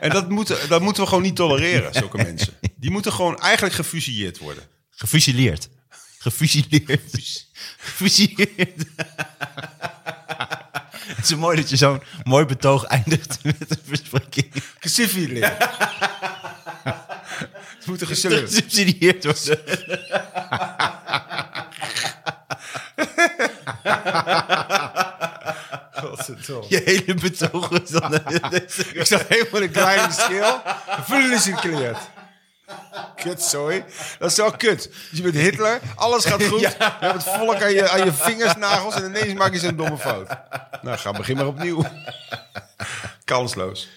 En dat moeten, dat moeten we gewoon niet tolereren, zulke mensen. Die moeten gewoon eigenlijk gefusilleerd worden. Gefusileerd. Gefusileerd. Gefusileerd. Het is zo mooi dat je zo'n mooi betoog eindigt met een verspreking. Gesifileerd. Het moet een gesifileerd. Gesubsidieerd worden. Je hele betoog is dan... Ik zat helemaal in een kleine schil. Gefeliciteerd. Kut, sorry. Dat is wel kut. Dus je bent Hitler, alles gaat goed. Je hebt het volk aan je, aan je vingersnagels en ineens maak je zo'n domme fout. Nou, ga begin maar opnieuw. Kansloos.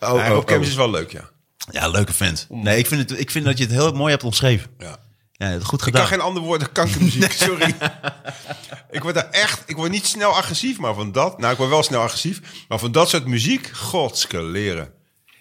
Oh, oh, Rob Kemps oh. is wel leuk, ja. Ja, leuke vent. Nee, ik vind, het, ik vind dat je het heel mooi hebt omschreven. ja. Ja, goed Ik kan gedaan. geen ander woord dan kankermuziek, sorry. ik word daar echt, ik word niet snel agressief, maar van dat, nou ik word wel snel agressief, maar van dat soort muziek, godske leren.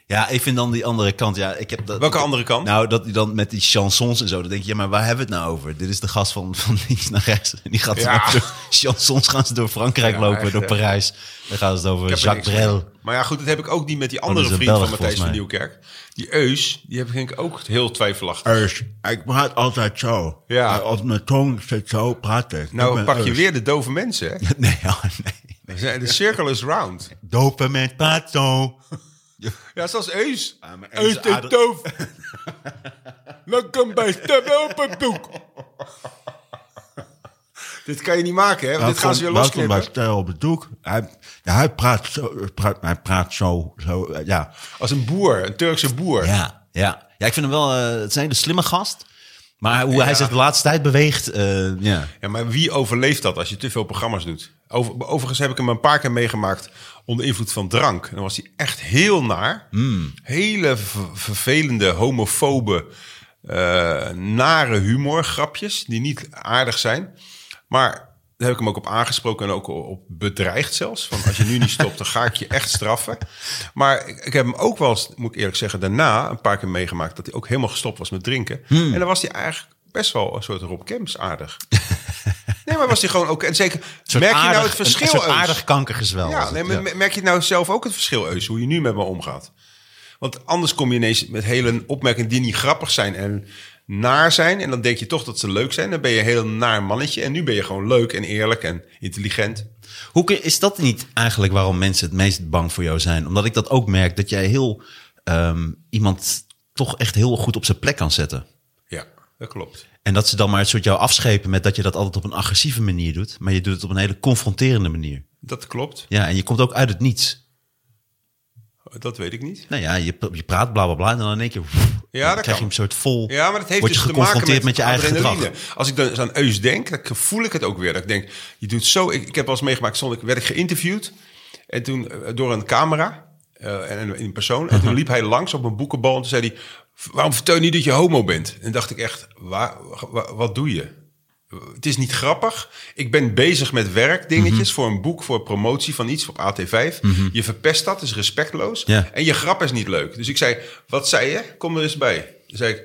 Ja, ik vind dan die andere kant. Ja, ik heb dat, Welke ik- andere kant? Nou, dat hij dan met die chansons en zo. Dan denk je, ja, maar waar hebben we het nou over? Dit is de gast van, van links naar rechts. En die gaat Ja. dan door chansons gaan ze door Frankrijk Ja, lopen, echt, door hè. Parijs. Dan gaan ze het over Ik heb er Jacques niks mee. Brel. Maar ja, goed, dat heb ik ook niet met die andere is een vriend van Belg, Matthijs van volgens Nieuwkerk. Die Eus, die heb ik denk ik ook heel twijfelachtig. Eus, ik praat altijd zo. Ja. Eh, Op mijn tong zit zo praten. nou pak je weer de dove mensen, hè? Nee, oh, nee. We zijn- De circle is round. Dopen met pato. Oh, Ja, zoals Eus. maar Eus Eus is de aardig- doof. Lekker bij stemmen op het doek. Dit kan je niet maken, hè? Want Nou, dit gaan ze weer Welkom bij losknippen. Stijl op het doek. Hij, ja, hij praat zo, praat, hij praat zo, zo eh, ja. Als een boer, een Turkse boer. Ja, ja. ja, ik vind hem wel... eh, het zijn de slimme gast. Maar hoe hij zich de laatste tijd beweegt... eh, ja. Ja, maar wie overleeft dat als je te veel programma's doet? Over, overigens heb ik hem een paar keer meegemaakt onder invloed van drank. En dan was hij echt heel naar. Hele v- vervelende, homofobe, eh, nare humor, grapjes die niet aardig zijn. Maar daar heb ik hem ook op aangesproken en ook op bedreigd zelfs. Van als je nu niet stopt, dan ga ik je echt straffen. Maar ik, ik heb hem ook wel, eens, moet ik eerlijk zeggen, daarna een paar keer meegemaakt... dat hij ook Hmm. helemaal gestopt was met drinken. En dan was hij eigenlijk best wel een soort Rob Kemps aardig. Nee, maar was hij gewoon ook. En zeker. soort merk je nou aardig- het verschil? Een, een soort Eus? aardig kankergezwel. was Ja, het, nee, maar merk je nou zelf ook het verschil, Eus, hoe je nu met me omgaat? Want anders kom je ineens met hele opmerkingen die niet grappig zijn en naar zijn. En dan denk je toch dat ze leuk zijn. Dan ben je een heel naar mannetje. En nu ben je gewoon leuk en eerlijk en intelligent. Hoe kun- is dat niet eigenlijk waarom mensen het meest bang voor jou zijn? Omdat ik dat ook merk, dat jij heel ehm, iemand toch echt heel goed op zijn plek kan zetten. Ja, dat klopt. En dat ze dan maar het soort jou afschepen met dat je dat altijd op een agressieve manier doet. Maar je doet het op een hele confronterende manier. Dat klopt. Ja, en je komt ook uit het niets. Dat weet ik niet. Nou ja, je, je praat bla bla bla en dan in één keer... woef, dan dat krijg kan. je een soort vol... Ja, maar dat heeft word je dus te geconfronteerd maken met, je eigen adrenaline. gedrag. Als ik dan aan Eus denk, dan voel ik het ook weer. Dat ik denk, je doet zo. Ik, ik heb wel eens meegemaakt, stond ik werd ik geïnterviewd en toen eh, door een camera eh, en en in persoon. Mhm. En toen liep hij langs op een boekenbal en toen zei hij: "Waarom vertel je niet dat je homo bent?" En dacht ik echt, "Waar- wa- wat doe je? Het is niet grappig. Ik ben bezig met werkdingetjes Mhm. voor een boek, voor promotie van iets op AT5. Je verpest dat, is respectloos. Ja. En je grap is niet leuk. Dus ik zei, wat zei je? Kom er eens bij. Toen zei ik,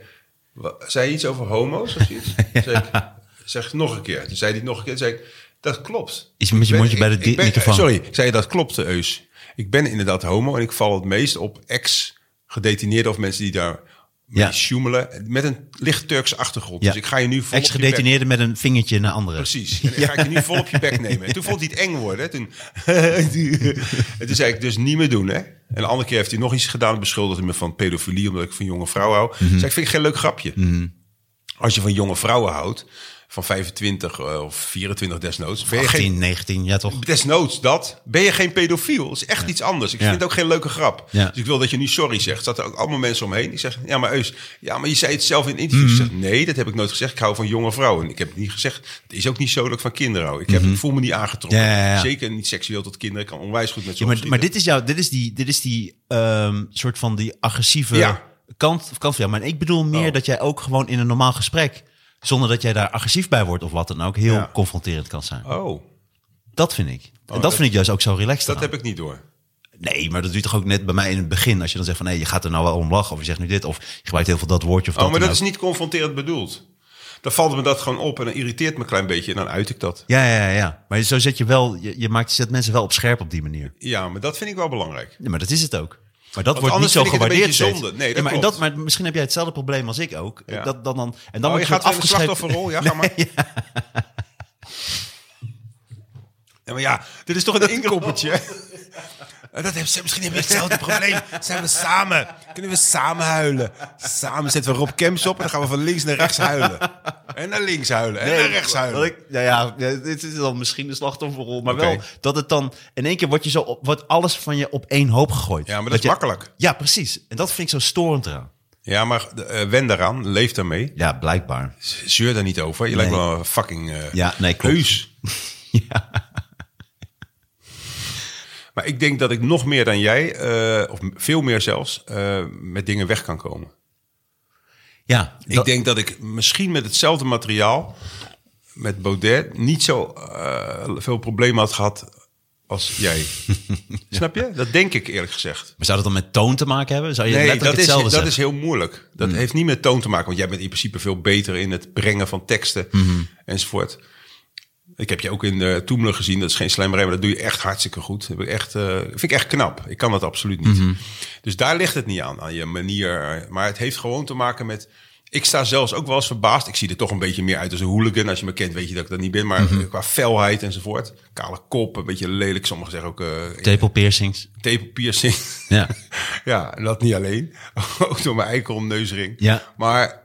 wa- zei je iets over homo's of zoiets? Toen zei ik, zeg het nog een keer. Toen zei hij het nog een keer. Toen zei ik, dat klopt. Is met je Ik ben- mondje bij de ik- ik ben- microfoon. Sorry, ik zei dat klopt, Eus. Ik ben inderdaad homo en ik val het meest op ex-gedetineerden of mensen die daar mee Ja. sjoemelen. Met een licht Turkse achtergrond. Ja. Dus ik ga je nu vol op je bek- Ex-gedetineerde met een vingertje naar anderen. Precies. En dan ga ik je nu vol op je bek nemen. En toen vond hij het eng worden. Toen, en toen zei ik, dus niet meer doen, hè. En de andere keer heeft hij nog iets gedaan. Beschuldigde me van pedofilie, omdat ik van jonge vrouwen hou. Zei ik, vind ik geen leuk grapje. Als je van jonge vrouwen houdt, van 25 eh, of 24 desnoods. Ben je geen 18, 19, ja toch? Desnoods dat. Ben je geen pedofiel? Dat is echt iets anders. Ik Ja. vind het ook geen leuke grap. Ja. Dus ik wil dat je nu sorry zegt. Zat er ook allemaal mensen omheen. Ik zeg, ja maar Eus, ja maar je zei het zelf in interviews. Mm. Ik zeg, nee, dat heb ik nooit gezegd. Ik hou van jonge vrouwen. Ik heb het niet gezegd. Het is ook niet zo dat ik van kinderen hou. Ik, heb, ik voel me niet aangetrokken. Mhm. Ja, ja, ja. Zeker niet seksueel tot kinderen. Ik kan onwijs goed met Ja, zo'n maar, maar dit is jouw, dit is die, dit is die ehm, soort van die agressieve Ja. kant, kant van jou. Maar ik bedoel meer Oh. dat jij ook gewoon in een normaal gesprek, zonder dat jij daar agressief bij wordt of wat dan ook, heel Ja. confronterend kan zijn. Oh, Dat vind ik. en dat, dat- vind ik juist ook zo relaxed. dat aan. heb ik niet door. Nee, maar dat doet toch ook net bij mij in het begin. Als je dan zegt van, hé, je gaat er nou wel om lachen. Of je zegt nu dit, of je gebruikt heel veel dat woordje of Oh, dat. maar dan dat is ook. niet confronterend bedoeld. Dan valt me dat gewoon op en dan irriteert me een klein beetje. En dan uit ik dat. Ja, ja, ja, ja. Maar zo zet je wel, je, je maakt, je zet mensen wel op scherp op die manier. Ja, maar dat vind ik wel belangrijk. Ja, maar dat is het ook. Maar dat wordt niet anders zo vind ik het een gewaardeerd. beetje steeds. zonde. Nee, dat maar, en klopt. dat, maar misschien heb jij hetzelfde probleem als ik ook. Ja. Dat, dan, dan, en dan oh, word je je, gaat wordt weer in de afgeschreven. slachtofferrol. Ja, ga maar. Ja, maar ja, dit is toch een inkoppertje? Eh, Dat heeft, ze- misschien hebben we hetzelfde probleem. Zijn we samen? Kunnen we samen huilen? Samen zetten we Rob Kemps op en dan gaan we van links naar rechts huilen. En naar links huilen. En naar rechts huilen. Wat ik- nou ja, ja, dit is dan misschien de slachtofferrol. Maar wel Oké. dat het dan... In één keer wordt, je zo op, wordt alles van je op één hoop gegooid. Ja, maar dat is je- makkelijk. Ja, precies. En dat vind ik zo storend eraan. Ja, maar eh, wen daaraan. Leef daarmee. Ja, blijkbaar. Zeur daar niet over. Je lijkt Nee. wel een fucking eh Ja, nee, klopt. heus. Maar ik denk dat ik nog meer dan jij, eh, of veel meer zelfs, eh, met dingen weg kan komen. Ja, Ik dat- denk dat ik misschien met hetzelfde materiaal, met Baudet, niet zo eh, veel problemen had gehad als jij. Snap je? Dat denk ik eerlijk gezegd. Maar zou dat dan met toon te maken hebben? Zou je Nee, letterlijk dat is, hetzelfde Mm. dat zeggen? is heel moeilijk. Dat heeft niet met toon te maken, want jij bent in principe veel beter in het brengen van teksten Mm-hmm. enzovoort. Ik heb je ook in de Toemler gezien, dat is geen slijmerij, maar dat doe je echt hartstikke goed. Dat heb ik echt, eh, vind ik echt knap. Ik kan dat absoluut niet. Mm-hmm. Dus daar ligt het niet aan, aan je manier. Maar het heeft gewoon te maken met... Ik sta zelfs ook wel eens verbaasd. Ik zie er toch een beetje meer uit als een hooligan. Als je me kent, weet je dat ik dat niet ben. Maar Mm-hmm. eh, qua felheid enzovoort. Kale kop, een beetje lelijk. Sommigen zeggen ook eh Tepel piercings. tape piercing. Ja. Ja, en dat niet alleen. Ook door mijn eikel neusring. Ja. Maar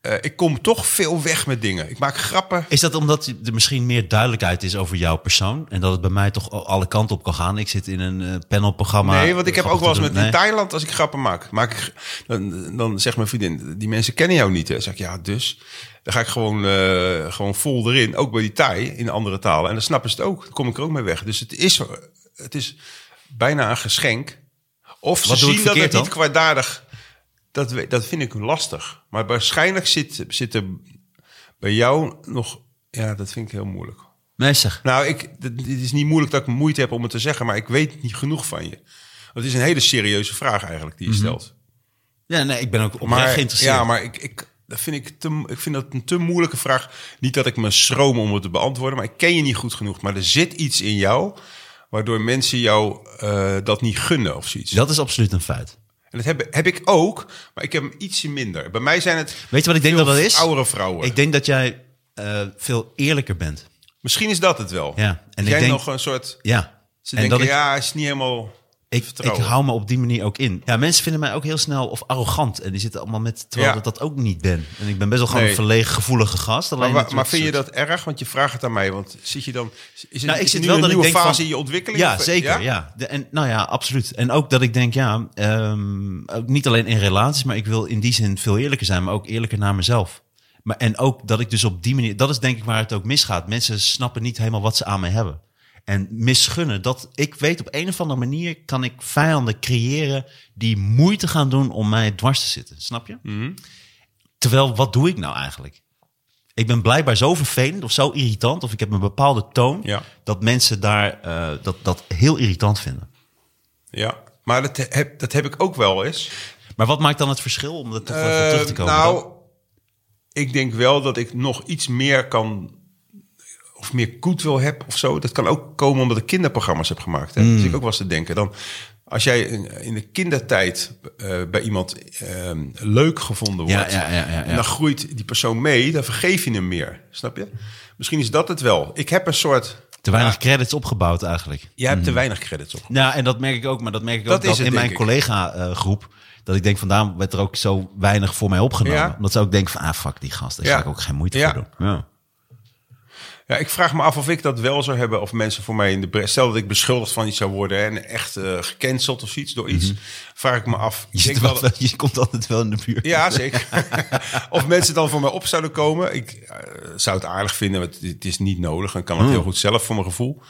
eh, ik kom toch veel weg met dingen. Ik maak grappen. Is dat omdat er misschien meer duidelijkheid is over jouw persoon? En dat het bij mij toch alle kanten op kan gaan? Ik zit in een eh, panelprogramma. nee, want ik heb ook wel eens met in Nee. Thailand, als ik grappen maak, maak ik, dan, dan zegt mijn vriendin, die mensen kennen jou niet. Hè. Dan zeg ik, ja, dus. Dan ga ik gewoon, eh, gewoon vol erin, ook bij die Thai, in andere talen. En dan snappen ze het ook. Dan kom ik er ook mee weg. Dus het is, het is bijna een geschenk. Of ze Wat doe ik zien dat het verkeerd niet dan? kwaadaardig... Dat, we- dat vind ik lastig. Maar waarschijnlijk zit, zit er bij jou nog... Ja, dat vind ik heel moeilijk. Nee, zeg. Nou, ik, dit dit is niet moeilijk dat ik moeite heb om het te zeggen, maar ik weet niet genoeg van je. Want het is een hele serieuze vraag eigenlijk die je stelt. Ja, nee, ik ben ook oprecht Maar, Mhm. geïnteresseerd. Ja, maar ik, ik, Dat vind ik, te, ik vind dat een te moeilijke vraag. Niet dat ik me schroom om het te beantwoorden, maar ik ken je niet goed genoeg. Maar er zit iets in jou waardoor mensen jou eh, dat niet gunnen of zoiets. Dat is absoluut een feit. En dat heb, heb ik ook, maar ik heb hem ietsje minder. Bij mij zijn het Weet je wat ik denk dat dat is? oudere vrouwen. Ik denk dat jij eh, veel eerlijker bent. Misschien is dat het wel. Ja, en en ik jij denk- nog een soort... Ja. Ze en denken, dat ik- ja, is niet helemaal... Ik, ik vertrouwen. hou me op die manier ook in. Ja, mensen vinden mij ook heel snel of arrogant. En die zitten allemaal met, terwijl Ja. dat dat ook niet ben. En ik ben best wel gewoon Nee. een verlegen, gevoelige gast. Maar, Alleen wa- dat maar soort- vind je dat erg? Want je vraagt het aan mij. Want zit je dan... Is het, Nou, ik is zit nu wel een dat ik nieuwe denk fase van- in je ontwikkeling? Ja, Of- zeker. Ja? De- en, nou ja, absoluut. En ook dat ik denk, ja, ehm, ook niet alleen in relaties, maar ik wil in die zin veel eerlijker zijn, maar ook eerlijker naar mezelf. Maar, en ook dat ik dus op die manier, dat is denk ik waar het ook misgaat. Mensen snappen niet helemaal wat ze aan me hebben. En misgunnen, dat ik weet op een of andere manier kan ik vijanden creëren die moeite gaan doen om mij dwars te zitten. Snap je? Terwijl, wat doe ik nou eigenlijk? Ik ben blijkbaar zo vervelend of zo irritant, of ik heb een bepaalde toon, Ja. dat mensen daar eh, dat, dat heel irritant vinden. Ja, maar dat heb, dat heb ik ook wel eens. Maar wat maakt dan het verschil om er toch wel Eh, even terug te komen? nou, Dan- ik denk wel dat ik nog iets meer kan... Of meer goodwill heb of zo. Dat kan ook komen omdat ik kinderprogramma's heb gemaakt. Hè? Hmm. Dus ik ook wel eens te denken. Dan, als jij in- in de kindertijd eh, bij iemand ehm, leuk gevonden Ja, wordt... ja, ja, ja, ja. en dan groeit die persoon mee, dan vergeef je hem meer. Snap je? Misschien is dat het wel. Ik heb een soort... Hmm. te weinig credits opgebouwd eigenlijk. Jij hebt te weinig credits op. Nou, en dat merk ik ook, maar dat merk ik Dat ook dat is het, in mijn denk ik. collega-groep. dat ik denk, vandaan werd er ook zo weinig voor mij opgenomen. Ja. Omdat ze ook denken van, ah fuck die gast, daar Ja. ga ik ook geen moeite Ja. voor doen. Ja. Ja, ik vraag me af of ik dat wel zou hebben. Of mensen voor mij in de bres. Stel dat ik beschuldigd van iets zou worden. hè, En echt eh, gecanceld of iets door iets. Vraag ik me af. Mhm. Je, Ik zit denk wel, wel- je komt altijd wel in de buurt. Ja, zeker. of mensen dan voor mij op zouden komen. Ik eh, zou het aardig vinden. Want het is niet nodig. En Hmm. kan het heel goed zelf voor mijn gevoel.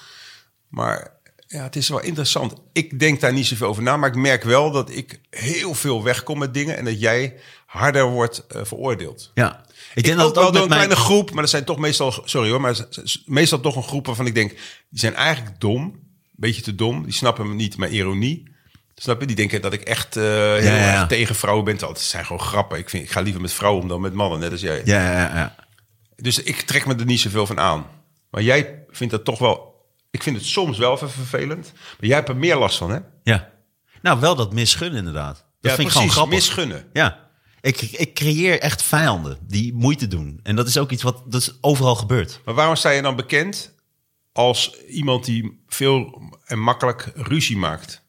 Maar ja, het is wel interessant. Ik denk daar niet zoveel over na. Maar ik merk wel dat ik heel veel wegkom met dingen. En dat jij harder wordt eh, veroordeeld. Ja. Ik denk dat Ik ook het wel ook door met een mijn... kleine groep, maar dat zijn toch meestal, sorry hoor, maar dat zijn meestal toch een groep waarvan ik denk, die zijn eigenlijk dom, een beetje te dom, die snappen me niet mijn ironie. Snap je? Die denken dat ik echt eh, heel Ja, ja, ja. erg tegen vrouwen ben. terwijl Het zijn gewoon grappen. Ik, vind, ik ga liever met vrouwen om dan met mannen, net als jij. Ja, ja, ja, ja. Dus ik trek me er niet zoveel van aan. Maar jij vindt dat toch wel... Ik vind het soms wel even vervelend. Maar jij hebt er meer last van, hè? Ja. Nou, wel dat misgunnen inderdaad. Dat vind ik gewoon grappig. Misgunnen. Ja. Ik, ik creëer echt vijanden die moeite doen. En dat is ook iets wat dat is overal gebeurt. Maar waarom sta je dan bekend als iemand die veel en makkelijk ruzie maakt?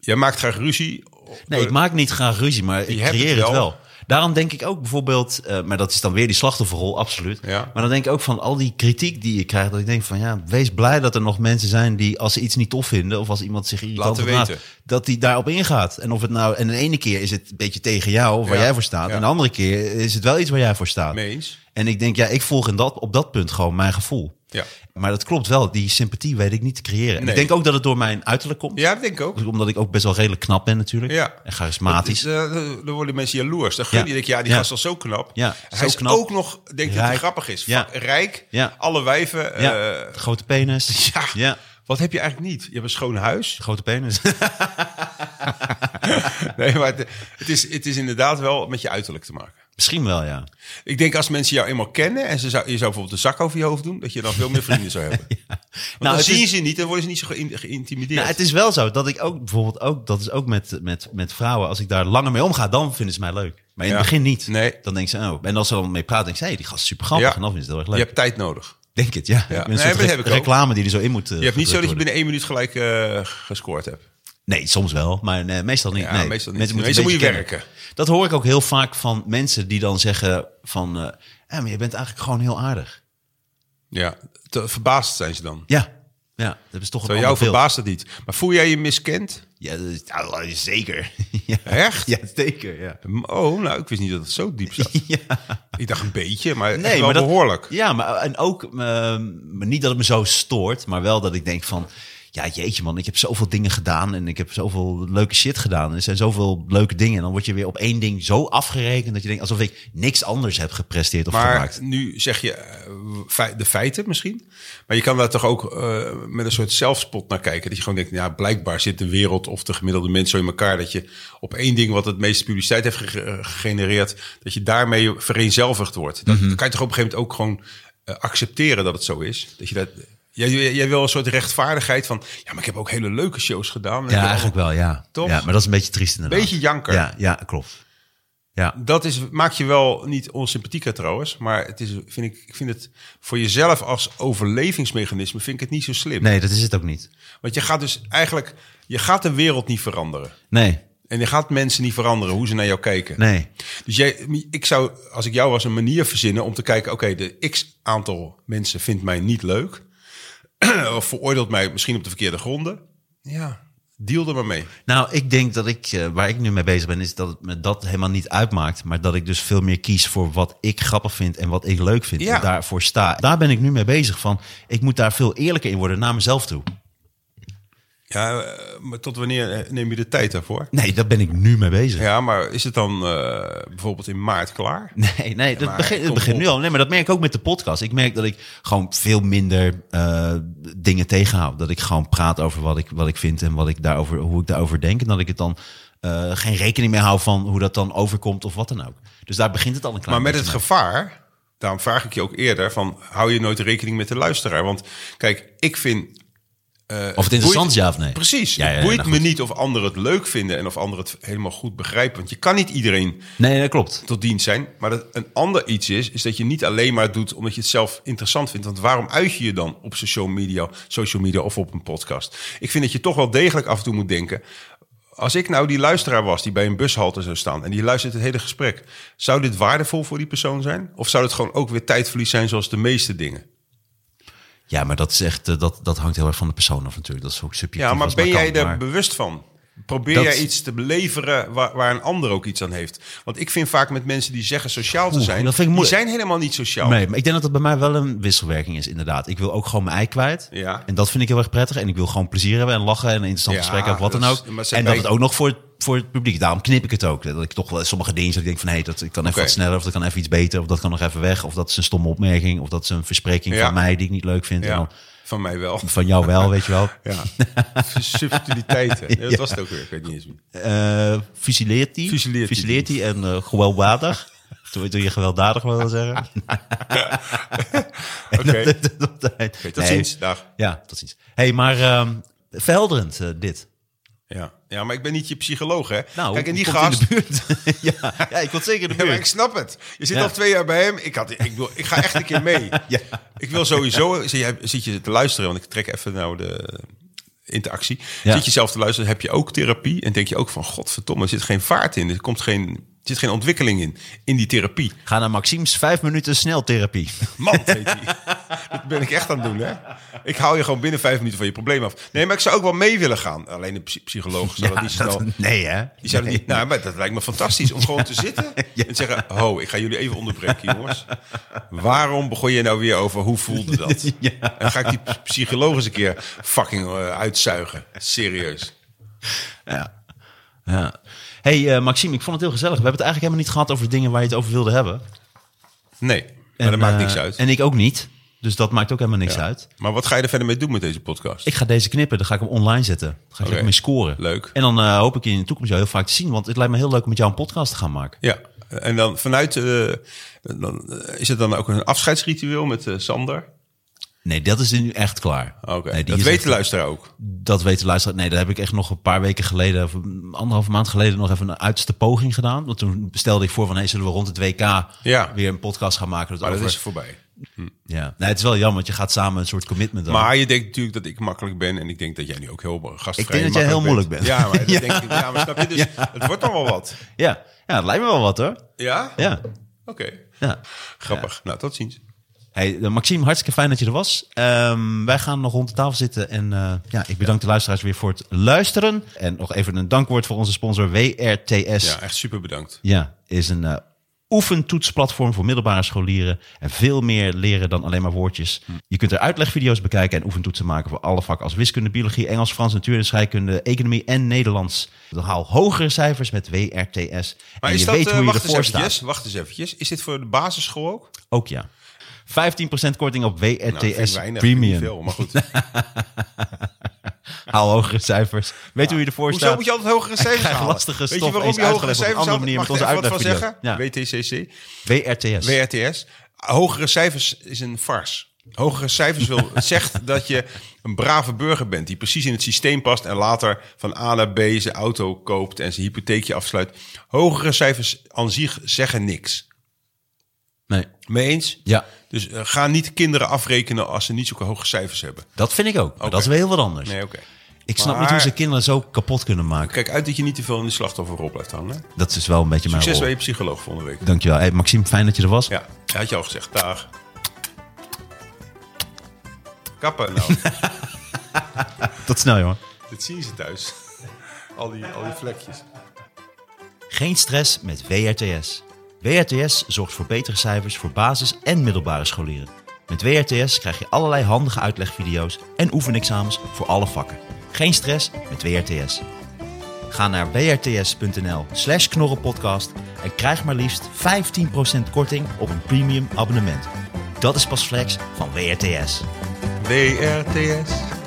Jij maakt graag ruzie. eh, Nee, ik maak niet graag ruzie, maar ik hebt creëer het het wel. wel. Daarom denk ik ook bijvoorbeeld, eh, maar dat is dan weer die slachtofferrol, absoluut. Ja. Maar dan denk ik ook van al die kritiek die je krijgt, dat ik denk van ja, wees blij dat er nog mensen zijn die als ze iets niet tof vinden of als iemand zich irritant Laten gedraagt, weten. dat die daarop ingaat. En of het nou, en de ene keer is het een beetje tegen jou of waar Ja, jij voor staat, ja. en de andere keer is het wel iets waar jij voor staat. Mee eens. En ik denk, ja, ik volg in dat, op dat punt gewoon mijn gevoel. Ja. Maar dat klopt wel, die sympathie weet ik niet te creëren. En Nee. Ik denk ook dat het door mijn uiterlijk komt. Ja, dat denk ik ook. Omdat ik ook best wel redelijk knap ben natuurlijk. Ja. En charismatisch. Dus, eh, dan worden mensen jaloers. Dan gun je Ja. dat, ja, die Ja. gast is al zo knap. Ja, Hij zo is knap. ook nog, denk ik, dat hij Rijk. grappig is. Ja. Fuck, Rijk, Ja. alle wijven. ja, eh, grote penis. ja. ja. Wat heb je eigenlijk niet? Je hebt een schoon huis. Grote penis. Nee, maar het, het, is, het is inderdaad wel met je uiterlijk te maken. Misschien wel, ja. Ik denk als mensen jou eenmaal kennen en ze zou, je zou bijvoorbeeld een zak over je hoofd doen, dat je dan veel meer vrienden zou hebben. Want Nou, dan het zien is- ze niet en worden ze niet zo geïn- geïntimideerd. Nou, het is wel zo dat ik ook bijvoorbeeld ook, dat is ook met, met, met vrouwen, als ik daar langer mee omga, dan vinden ze mij leuk. Maar in Ja. het begin niet. Nee. Dan denken ze, oh. En als ze dan mee praten, denk ze, hey, die gast is super grappig. Ja. En dan vinden ze het heel Je erg leuk. hebt tijd nodig. Denk het, ja. Ja. Ik ben Nee, een soort maar dat re- heb ik ook. reclame die er zo in moet eh, Je hebt niet zo dat je gedrukt worden. binnen één minuut gelijk eh, gescoord hebt. Nee, soms wel, maar nee, meestal niet. Ja, nee. meestal niet. Mensen moeten Meestal een moet je beetje werken. kennen. Dat hoor ik ook heel vaak van mensen die dan zeggen van... eh, ja, maar je bent eigenlijk gewoon heel aardig. Ja, te, verbaasd zijn ze dan. Ja, ja dat is toch een Terwijl jou ander beeld. verbaast het niet. Maar voel jij je miskend? Ja, dat is- ah, zeker. ja. Echt? Ja, zeker, ja. Oh, nou, ik wist niet dat het zo diep zat. Ja. Ik dacht een beetje, maar nee, Nee, wel maar dat, behoorlijk. Ja, maar en ook ehm, maar niet dat het me zo stoort, maar wel dat ik denk van, ja, jeetje man, ik heb zoveel dingen gedaan en ik heb zoveel leuke shit gedaan. En er zijn zoveel leuke dingen. En dan word je weer op één ding zo afgerekend dat je denkt alsof ik niks anders heb gepresteerd of Maar gemaakt. nu zeg je eh, fei- de feiten misschien. Maar je kan daar toch ook eh, met een soort zelfspot naar kijken. Dat je gewoon denkt, ja, blijkbaar zit de wereld of de gemiddelde mens zo in elkaar. Dat je op één ding wat het meeste publiciteit heeft gege- eh, gegenereerd, dat je daarmee vereenzelvigd wordt. Dat, Mhm. dat kan je toch op een gegeven moment ook gewoon eh, accepteren dat het zo is. Dat je dat... Jij, jij jij wil een soort rechtvaardigheid van... ja, maar ik heb ook hele leuke shows gedaan. Ja, eigenlijk wel, ja. Toch? Ja, maar dat is een beetje triest inderdaad. Beetje janker. Ja, ja klopt. Ja. Dat is, maakt je wel niet onsympathieker trouwens. Maar het is, vind ik, ik vind het voor jezelf als overlevingsmechanisme vind ik het niet zo slim. Nee, dat is het ook niet. Want je gaat dus eigenlijk, je gaat de wereld niet veranderen. Nee, En je gaat mensen niet veranderen hoe ze naar jou kijken. nee. Dus jij, ik zou, als ik jou was, een manier verzinnen om te kijken... oké, de x aantal mensen vindt mij niet leuk. of veroordeelt mij misschien op de verkeerde gronden. Ja, deal er maar mee. Nou, ik denk dat ik, eh, waar ik nu mee bezig ben, is dat het me dat helemaal niet uitmaakt. Maar dat ik dus veel meer kies voor wat ik grappig vind en wat ik leuk vind. Ja. En daarvoor sta. Daar ben ik nu mee bezig van. Ik moet daar veel eerlijker in worden naar mezelf toe. Ja, eh, maar tot wanneer eh, neem je de tijd daarvoor? Nee, daar ben ik nu mee bezig. Ja, maar is het dan eh, bijvoorbeeld in maart klaar? Nee, nee, dat maar begint kom het begint op. nu al. Nee, maar dat merk ik ook met de podcast. Ik merk dat ik gewoon veel minder eh, dingen tegenhoud. Dat ik gewoon praat over wat ik, wat ik vind en wat ik daarover, hoe ik daarover denk. En dat ik het dan eh, geen rekening mee hou van hoe dat dan overkomt of wat dan ook. Dus daar begint het al een klein Maar met beetje het gevaar, daarom vraag ik je ook eerder, van hou je nooit rekening met de luisteraar? Want kijk, ik vind... mee. Of het interessant is, ja of nee? Precies, Ja, ja, het ja, boeit nou me goed. niet of anderen het leuk vinden en of anderen het helemaal goed begrijpen. Want je kan niet iedereen Nee, dat klopt. tot dienst zijn. Maar dat een ander iets is, is dat je niet alleen maar doet omdat je het zelf interessant vindt. Want waarom uit je je dan op social media, social media of op een podcast? Ik vind dat je toch wel degelijk af en toe moet denken. Als ik nou die luisteraar was die bij een bushalte zou staan en die luistert het hele gesprek, zou dit waardevol voor die persoon zijn? Of zou het gewoon ook weer tijdverlies zijn zoals de meeste dingen? Ja, maar dat, is echt, eh, dat, dat hangt heel erg van de persoon af natuurlijk. Dat is ook subjectief. Ja, maar als het ben jij kan, er maar- bewust van? Probeer Dat- jij iets te beleveren waar, waar een ander ook iets aan heeft? Want ik vind vaak met mensen die zeggen sociaal te Oeh, zijn, dat vind ik die moeilijk. zijn helemaal niet sociaal. Nee, maar ik denk dat dat bij mij wel een wisselwerking is, inderdaad. Ik wil ook gewoon mijn ei kwijt. Ja. En dat vind ik heel erg prettig. En ik wil gewoon plezier hebben en lachen en een interessant Ja, gesprek hebben of wat dan dat is- ook. maar ze- en dat bij- het ook nog voor, voor het publiek. Daarom knip ik het ook. Dat ik toch wel sommige dingen dat ik denk van... hé, hey, dat ik kan even Oké. wat sneller of dat kan even iets beter... of dat kan nog even weg of dat is een stomme opmerking... of dat is een verspreking Ja. van mij die ik niet leuk vind. En Ja, dan van mij wel. Nou, van jou wel, weet je wel. Ja. Subtiliteiten. Nee, dat Ja. was het ook weer. Ik weet niet eens meer. Eh fusileert hij. Fusileert hij. en eh, gewelddadig. Toen je gewelddadig wil zeggen. Oké, dat, dat, dat, Oké, tot nee. ziens. Dag. Ja, tot ziens. hey, maar ehm, verhelderend eh, dit. Ja. ja, maar ik ben niet je psycholoog, hè? Nou, Kijk, en die komt gast... in de buurt. ja, ja, ik wil zeker in de Ja, maar ik buurt. snap het. Je zit Ja. al twee jaar bij hem. Ik, had, ik, wil, ik ga echt een keer mee. Ja. Ik wil sowieso... Zit jij- zit je te luisteren, want ik trek even nou de interactie. Ja. Zit je zelf te luisteren, heb je ook therapie? En denk je ook van, godverdomme, er zit geen vaart in. Er komt geen... er zit geen ontwikkeling in, in die therapie. Ga naar Maxime's 5 minuten sneltherapie. Man, heet die. Dat ben ik echt aan het doen, hè? Ik hou je gewoon binnen vijf minuten van je probleem af. Nee, maar ik zou ook wel mee willen gaan. Alleen de psy- psycholoog zou dat niet snel... nee, hè? Die zouden niet, nou, maar dat lijkt me fantastisch om gewoon te zitten en te zeggen: Ho, ik ga jullie even onderbreken, jongens. Waarom begon je nou weer over hoe voelde dat? En ga ik die psycholoog eens een keer fucking eh, uitzuigen? Serieus. Ja. hey, eh, Maxime, ik vond het heel gezellig. We hebben het eigenlijk helemaal niet gehad over de dingen waar je het over wilde hebben. Nee, maar dat maakt niks eh, uit. En ik ook niet. Dus dat maakt ook helemaal niks Ja. uit. Maar wat ga je er verder mee doen met deze podcast? Ik ga deze knippen, dan ga ik hem online zetten. Dan ga ik Oké. lekker mee scoren. Leuk. En dan eh, hoop ik je in de toekomst jou heel vaak te zien. Want het lijkt me heel leuk om met jou een podcast te gaan maken. Ja, en dan vanuit. eh, dan, eh, is het dan ook een afscheidsritueel met eh, Sander? Nee, dat is nu echt klaar. Oké, Nee, die dat is weet echt- de luisteraar ook. Dat weet de luisteraar. Nee, daar heb ik echt nog een paar weken geleden, of anderhalve maand geleden, nog even een uiterste poging gedaan. Want toen stelde ik voor van, hey, zullen we rond het WK Ja. weer een podcast gaan maken? Dat Maar dat over- is voorbij. ja. nee, het is wel jammer, want je gaat samen een soort commitment aan. Maar je denkt natuurlijk dat ik makkelijk ben. En ik denk dat jij nu ook heel gastvrij Ik denk dat jij makkelijk heel moeilijk bent. Ja, maar, dat Denk ik, ja, maar snap je? Dus het wordt dan wel wat. ja. ja, het lijkt me wel wat hoor. Ja? Ja, Oké. ja. Grappig. Nou, tot ziens. Hey, eh, Maxime, hartstikke fijn dat je er was. Ehm, wij gaan nog rond de tafel zitten. En eh, ja, ik bedank de luisteraars weer voor het luisteren. En nog even een dankwoord voor onze sponsor WRTS. Ja, echt super bedankt. Ja, is een eh, oefentoetsplatform voor middelbare scholieren. En veel meer leren dan alleen maar woordjes. Hm. Je kunt er uitlegvideo's bekijken en oefentoetsen maken voor alle vakken als wiskunde, biologie, Engels, Frans, natuur en scheikunde, economie en Nederlands. Dan haal hogere cijfers met WRTS. Maar en is je dat, weet eh, hoe je wacht, eens ervoor staat. eventjes, wacht eens eventjes, is dit voor de basisschool ook? Ook ja. 15% korting op Nou, vind ik WRTS weinig, niet Premium. Nou, Veel, maar goed. Haal hogere cijfers. Weet hoe je ervoor Hoezo staat. moet je altijd hogere cijfers nou, krijg halen? lastige Weet je stof waarom eens je hogere uitgelegd op een cijfers andere haalt? manier met Mag ik onze er even wat van zeggen? WTCC, WRTS. WRTS. Hogere cijfers is een farce. Hogere cijfers wil, zegt dat je een brave burger bent... die precies in het systeem past en later van A naar B zijn auto koopt... en zijn hypotheekje afsluit. Hogere cijfers aan zich zeggen niks. Nee. Mee eens? Ja. Dus eh, ga niet kinderen afrekenen als ze niet zulke hoge cijfers hebben. Dat vind ik ook. Maar dat is weer heel wat anders. Nee, oké. Ik snap niet Maar- hoe ze kinderen zo kapot kunnen maken. Kijk uit dat je niet te veel in de slachtofferrol blijft hangen. hè? Dat is wel een beetje mijn Succes rol. bij je psycholoog volgende week. Dankjewel. Hey, Maxime, fijn dat je er was. Ja, dat had je al gezegd. Dag. Kappen nou. Tot snel, jongen. Dat zien ze thuis. Al die, al die vlekjes. Geen stress met WRTS. WRTS zorgt voor betere cijfers voor basis- en middelbare scholieren. Met WRTS krijg je allerlei handige uitlegvideo's en oefenexamens voor alle vakken. Geen stress met WRTS. Ga naar wrts.nl slash knorrenpodcast en krijg maar liefst 15% korting op een premium abonnement. Dat is pas flex van WRTS. WRTS.